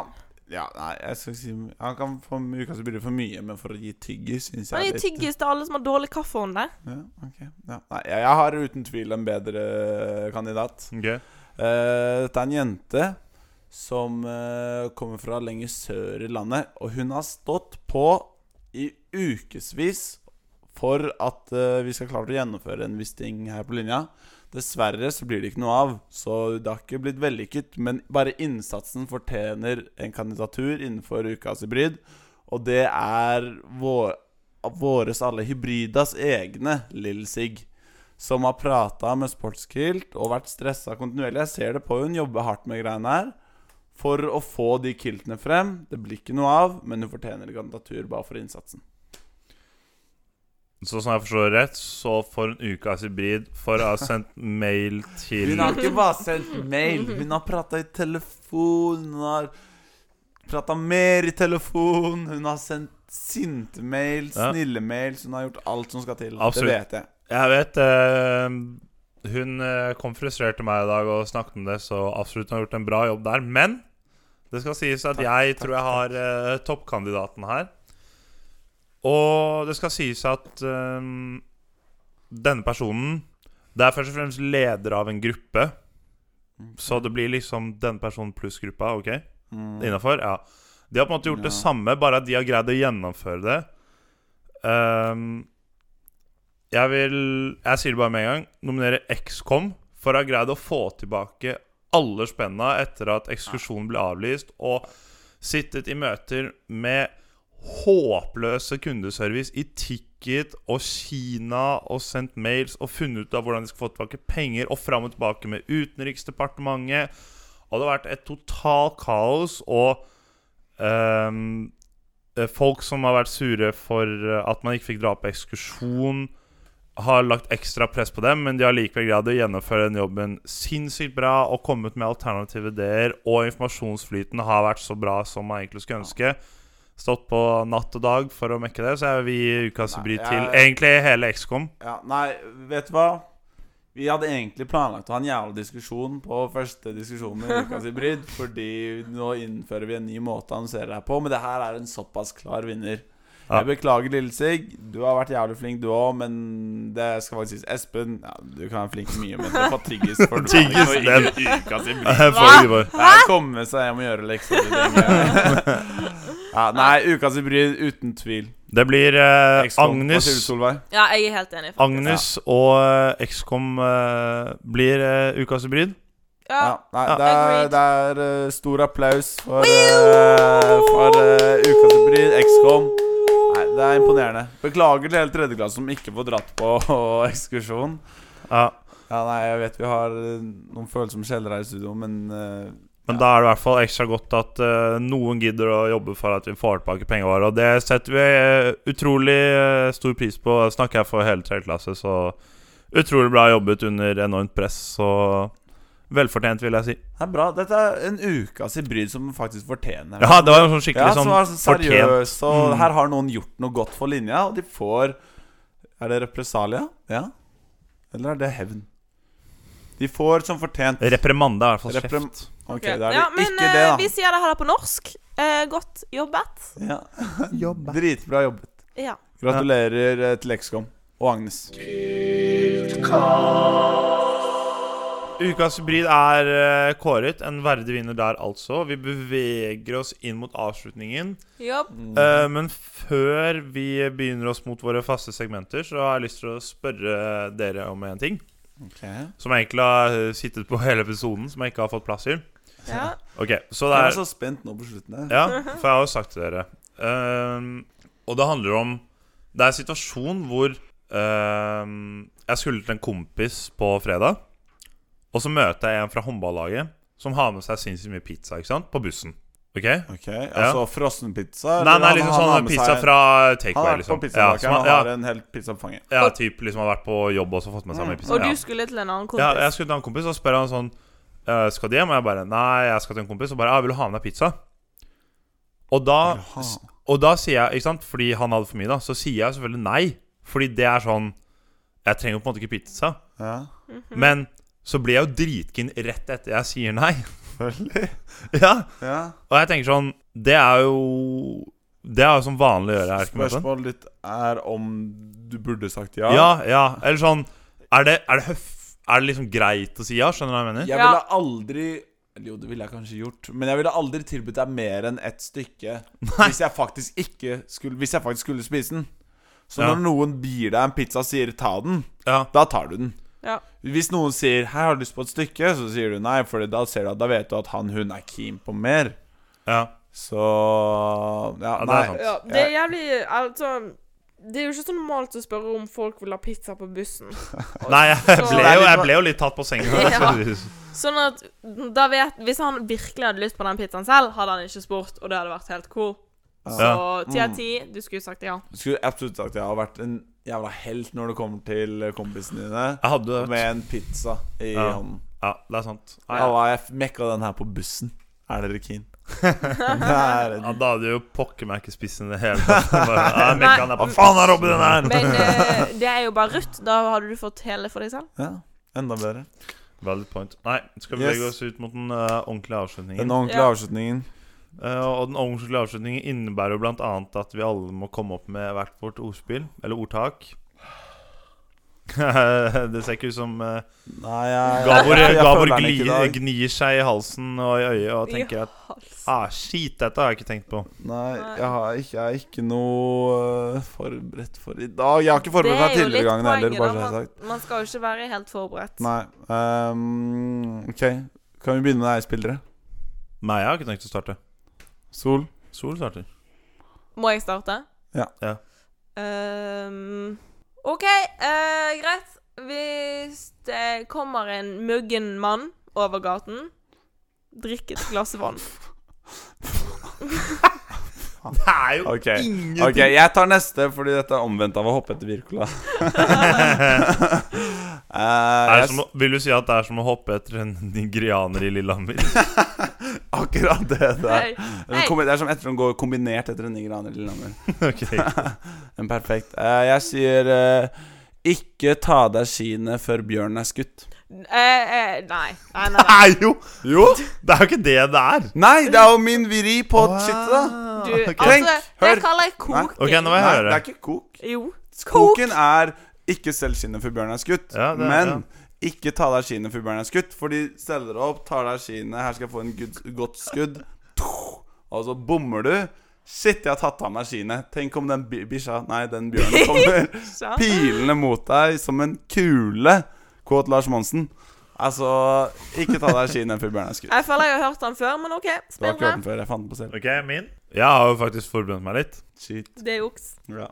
B: ja. Nei, jeg skal ikke si Han kan få ukas hybrid for mye, men for å gi tyggis syns
C: Han
B: jeg eh,
C: gir tyggis til alle som har dårlig kaffehånde.
B: Ja, ok. ja. Nei, jeg, jeg har uten tvil en bedre kandidat.
A: Ok.
B: Eh, dette er en jente som eh, kommer fra lenger sør i landet, og hun har stått på i ukevis for at eh, vi skal klare å gjennomføre en viss ting her på linja. Dessverre så blir det ikke noe av, så det har ikke blitt vellykket. Men bare innsatsen fortjener en kandidatur innenfor ukas hybrid, og det er vår, våres alle hybridas egne Lill Sig som har prata med Sportskilt og vært stressa kontinuerlig. Jeg ser det på hun, jobber hardt med greiene her. For å få de kiltene frem. Det blir ikke noe av, men hun fortjener kandidatur bare for innsatsen.
A: Så sånn jeg forstår det rett, så for en ukas hybrid for å ha sendt mail til
B: Hun har ikke bare sendt mail, hun har prata i telefon. Hun har prata mer i telefon. Hun har sendt sinte mail,
A: Ja.
B: snille mail. Hun har gjort alt som skal til.
A: Absolutt.
B: Det vet jeg.
A: Jeg vet eh, Hun eh, kom frustrert til meg i dag og snakket om det, så absolutt hun har gjort en bra jobb der. Men det skal sies at jeg tror jeg har eh, toppkandidaten her. Og det skal sies at eh, denne personen Det er først og fremst leder av en gruppe. Så det blir liksom denne personen pluss gruppa, OK? Innafor? Ja. De har på en måte gjort det
B: Ja.
A: samme, bare at de har greid å gjennomføre det. Ehm, jeg vil Jeg sier det bare med en gang. Nominere XCOM for å ha greid å få tilbake alle spenna etter at ekskursjonen ble avlyst, og sittet i møter med håpløse kundeservice i Ticket og Kina og sendt mails og funnet ut av hvordan de skal få tilbake penger, og fram og tilbake med Utenriksdepartementet. Og det har vært et totalt kaos og ehm, eh, Folk som har vært sure for eh, at man ikke fikk dra på ekskursjon, har lagt ekstra press på dem, men de har likevel greid å gjennomføre den jobben sinnssykt bra og kommet med alternative ideer, og informasjonsflyten har vært så bra som man egentlig skulle ønske. Stått på natt og dag for å mekke det, så jeg vil gi ukas
B: Nei,
A: hybrid
B: jeg-
A: til egentlig hele XCOM.
B: Ja, nei, vet du hva? Vi hadde egentlig planlagt å ha en jævla diskusjon på første diskusjon med ukas hybrid, fordi nå innfører vi en ny måte å annonsere deg på, men det her er en såpass klar vinner.
A: Ja.
B: Jeg beklager, Lille Sig. Du har vært jævlig flink, du òg, men det skal faktisk sies. Espen, ja, du kan være flink til mye, men det får tigges for du
A: Tigges,
B: kan ikke
A: den.
B: få ukas hybrid.
A: For Ivar.
B: Nei, komme seg hjem og gjøre lekser. tenker jeg. Ja, nei, ukas hybrid uten tvil.
A: Det blir eh,
B: Expo. Hva sier du,
A: Agnes
B: Solveig?
C: Ja, jeg er helt enig. faktisk.
A: Agnes og eh, XCOM eh, blir eh, ukas hybrid.
C: Ja.
B: Ja, nei,
A: Ja.
B: det er,
C: Agreed.
B: det er eh, stor applaus for, uh, for eh, ukas hybrid, XCOM. Nei, det er imponerende. Beklager til hele tredjeklasse som ikke får dratt på ekskursjon.
A: Ja.
B: Ja, nei, jeg vet vi har eh, noen følsomme kjeller her i studio, men eh,
A: Men da er det i hvert fall ekstra godt at eh, noen gidder å jobbe for at vi får tilbake pengene våre. Og det setter vi eh, utrolig eh, stor pris på. Jeg snakker jeg for hele tredje klasse, så utrolig bra jobbet under enormt press. Så velfortjent, vil jeg si.
B: det er bra. Dette er en ukas hybrid som faktisk fortjener
A: Ja, det var jo sånn skikkelig
B: Ja, som
A: sånn
B: var sånn
A: fortjent. Mm.
B: seriøs, og her har noen gjort noe godt for linja, og de får Er det represalia? Ja? Eller er det hevn? De får som fortjent
A: Reprimande er i hvert fall
B: Reprim-
A: kjeft.
B: Ok,
C: Ok,
B: da er det
C: ja, men
B: ikke
C: eh,
B: det,
C: vi sier det her på norsk. Eh, godt jobbet.
B: da. Ja. Dritbra jobbet.
C: Ja.
B: Gratulerer eh, til Lexcom og Agnes.
A: Ukas hybrid er eh, kåret. En verdig vinner der, altså. Vi beveger oss inn mot avslutningen.
C: Jobb.
A: Eh, men før vi begynner oss mot våre faste segmenter, så har jeg lyst til å spørre dere om en ting. Som jeg egentlig har eh, sittet på hele episoden, som jeg ikke har fått plass til.
C: Ja.
A: Ok, så det
B: Jeg
A: er
B: er så spent nå på slutten. her.
A: Ja, for jeg har jo sagt til dere ehm, Og det handler om Det er en situasjon hvor ehm, Jeg skulle til en kompis på fredag Og så møter jeg en fra håndballlaget Som har med seg sinnssykt mye pizza, ikke sant? På bussen, ok?
B: Ok, Altså frossenpizza?
A: Nei,
B: eller
A: nei,
B: han-
A: liksom
B: han har
A: sånn
B: med
A: pizza
B: seg-
A: fra
B: Han har
A: takeaway
B: vært
A: liksom.
B: på
A: ja,
B: pizzabakeren,
A: som,
B: han har
A: ja,
B: en hel pizza på fanget.
A: ja, typ liksom har vært på jobb og så fått med seg mye pizza ja.
C: Og du skulle til en annen kompis.
A: Ja, jeg skulle til en kompis, og så spør han sånn «Eh, Skal du hjem? Og jeg bare Nei, jeg skal til en kompis. Og bare «Ah, Vil du ha med deg pizza? Og da,
B: Jaha.
A: og da sier jeg, ikke sant, fordi han hadde for mye, da, så sier jeg selvfølgelig nei. Fordi det er sånn Jeg trenger jo på en måte ikke pizza.
B: Ja.
C: Mhm.
A: Men så blir jeg jo dritkeen rett etter jeg sier nei. ja.
B: ja.
A: Og jeg tenker sånn Det er jo Det er jo som vanlig å gjøre. Er det ikke Morten?
B: Spørsmålet ditt er om du burde sagt ja.
A: Ja, ja. Eller sånn Er det, er det høf... Er det liksom greit å si ja? Skjønner du hva jeg mener?
B: Jeg
C: Ja.
B: ville aldri eller jo, det ville jeg kanskje gjort, men jeg ville aldri tilbudt deg mer enn ett stykke hvis jeg faktisk ikke skulle Hvis jeg faktisk skulle spise den. Så
A: Ja.
B: når noen gir deg en pizza og sier 'ta den',
A: Ja.
B: da tar du den.
C: Ja.
B: Hvis noen sier 'hei, har du lyst på et stykke', så sier du nei, for da ser du at da vet du at han hun er keen på mer.
A: ja.
B: Så Ja,
A: Ja, det er
B: nei.
A: sant.
C: Ja, det er jævlig Altså Det er jo ikke så normalt å spørre om folk vil ha pizza på bussen.
A: Nei, jeg
C: Så-
A: ble, jo, jeg ble jo litt tatt på senga.
C: Ja.
A: så-
C: Sånn at da vet Hvis han virkelig hadde lyst på den pizzaen selv, hadde han ikke spurt, og det hadde vært helt cool. Så
A: Ja. Mm.
C: ti av ti, du skulle sagt ja.
B: Skulle absolutt sagt jeg har vært en jævla helt når det kommer til eh, kompisene dine.
A: Jeg hadde det.
B: Med en pizza i
A: Ja.
B: hånden.
A: Ja, det er sant. Nei, ja.
B: Halla, jeg mekka den her på bussen. Er dere keen? det er en
A: Ja, da hadde jo pokker meg ikke spist den i det hele tatt. Bare, ja, Mikkel, han er
B: Hva
A: på-
B: faen er oppi den her?
C: Men eh, det er jo bare rødt. Da hadde du fått hele for deg selv.
B: Ja, enda bedre.
A: Valid point. Nei, skal vi
B: Yes.
A: legge oss ut mot den eh, ordentlige avslutningen?
B: Den ordentlige
C: Ja.
B: avslutningen.
A: Eh, og den ordentlige avslutningen innebærer jo blant annet at vi alle må komme opp med hvert vårt ordspill, eller ordtak. det ser ikke ut som eh,
B: Nei, jeg
A: Gabor,
B: jeg
A: Gabor
B: føler den ikke i
A: glir,
B: dag.
A: gnir seg i halsen og i øyet og tenker at
C: Hals.
A: ah, Shit, dette har jeg ikke tenkt på.
B: Nei, jeg, har ikke, jeg er ikke noe øh, forberedt for i dag. Jeg har ikke forberedt meg tidligere gangen heller, bare så jeg har
C: Man,
B: sagt.
C: man skal jo ikke være helt forberedt.
B: Nei. eh, ehm, OK, kan vi begynne med deg, spillere?
A: Nei, jeg har ikke tenkt å starte.
B: Sol?
A: Sol starter.
C: Må jeg starte?
B: Ja.
A: Ja.
C: Ehm, OK, eh, greit. Hvis det kommer en muggen mann over gaten, drikk et glass vann.
A: Det er jo
B: Ok, ok, jeg tar neste, fordi dette er omvendt av å hoppe etter Wirkola. Eh,
A: Er det
B: jeg-
A: som, å- vil du si at det er som å hoppe etter en nigerianer i Lillehammer?
B: akkurat det der.
C: Hei.
B: Det er kombi- Det er som etter å gå kombinert etter en nigeraner eller noe.
A: ok
B: En perfekt. Eh, jeg sier eh, ikke ta av deg skiene før bjørnen er skutt.
C: Eh, eh, nei. Nei, nei, nei.
A: Nei, jo! Det er jo ikke det det er.
B: Nei, det er jo min viri på skittet, da.
C: Du,
B: Tenk,
C: altså,
B: hør.
C: det kaller jeg koking.
A: Ok, nå må jeg
B: Nei, det
A: høre.
B: er ikke kok.
C: Jo.
B: Koken er ikke selg skinnet før bjørnen er skutt,
A: Ja, det er-
B: men ikke ta av deg skiene før bjørnen er skutt. For de steller deg opp, tar av deg skiene, her skal jeg få en gud, godt skudd. Og så bommer du. Shit, jeg har tatt av meg skiene. Tenk om den bi- bikkja Nei, den bjørnen kommer
C: Så.
B: pilende mot deg som en kule. Kåt Lars Monsen. Altså, ikke ta av deg skiene før bjørnen er skutt.
C: Jeg føler jeg har hørt den før, men OK.
B: Du har ikke hørt
C: Spennende.
B: den før. Jeg fant den på selv.
A: Ok, min? Jeg har jo faktisk forberedt meg litt.
B: Shit.
C: Det er juks.
B: Ja.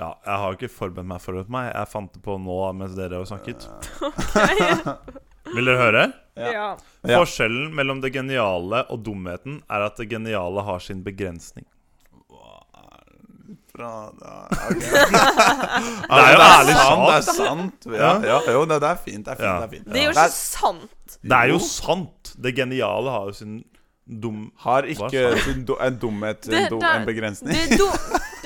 A: Ja, Jeg har jo ikke forberedt meg, forberedt meg. Jeg fant det på nå mens dere har snakket. Vil dere høre?
B: Ja.
C: ja.
B: Ja.
A: Forskjellen mellom det geniale og dumheten er at det geniale har sin begrensning.
B: Bra, da. Ok.
A: Det er jo ærlig
B: sant. Det er
A: sant.
B: sant. Ja, ja, jo, det, det er fint. Det er fint.
A: Ja.
B: Det er fint.
C: Det er jo
B: Det
C: ikke
B: er-
C: sant.
A: Det er jo sant. Det geniale har jo sin dum...
B: Har
A: Hva
B: ikke sin do- en dumhet en,
C: Det-
B: do,
C: det-
B: en begrensning
C: Det er dum...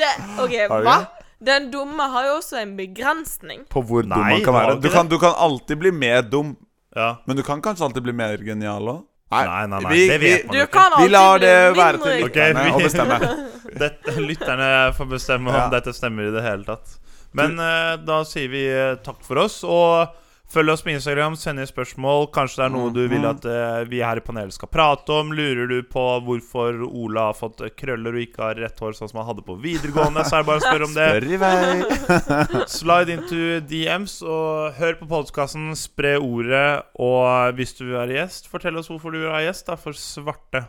C: Det, OK,
B: Har du
C: hva?
B: det?
C: Den dumme har jo også en begrensning.
B: på hvor dum
A: Nei,
B: man
A: det har
B: kan være.
A: ikke
B: Du
A: det.
B: kan, du kan alltid bli mer dum,
A: Ja.
E: Men du kan kanskje alltid bli mer genial òg?
A: Nei, nei, nei,
E: vi-
A: det vet
C: Du
A: man jo ikke.
C: kan
E: Vi
C: alltid
E: lar
C: bli
E: det være
C: mindre
E: til
A: Ok,
E: lytterne å
A: vi-
E: bestemme.
A: Dette, lytterne får bestemme om
E: Ja.
A: dette stemmer i det hele tatt. Men eh, da sier vi eh, takk for oss, og følg oss på Instagram, send inn spørsmål. Kanskje det er
E: Mm.
A: noe du vil at eh, vi her i panelet skal prate om. Lurer du på hvorfor Ola har fått eh, krøller og ikke har rett hår sånn som han hadde på videregående, så er det bare å spørre om det.
E: Spør i vei.
A: Slide into DMs og hør på podkasten, spre ordet, og hvis du er gjest, fortell oss hvorfor du er gjest. Det er for svarte.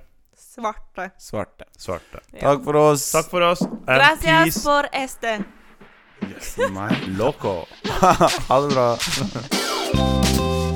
C: Svarte.
E: Svarte.
A: Svarte.
E: Takk for oss.
A: Takk for oss. and peace
C: Gracias por este.
E: Loco. ha det bra.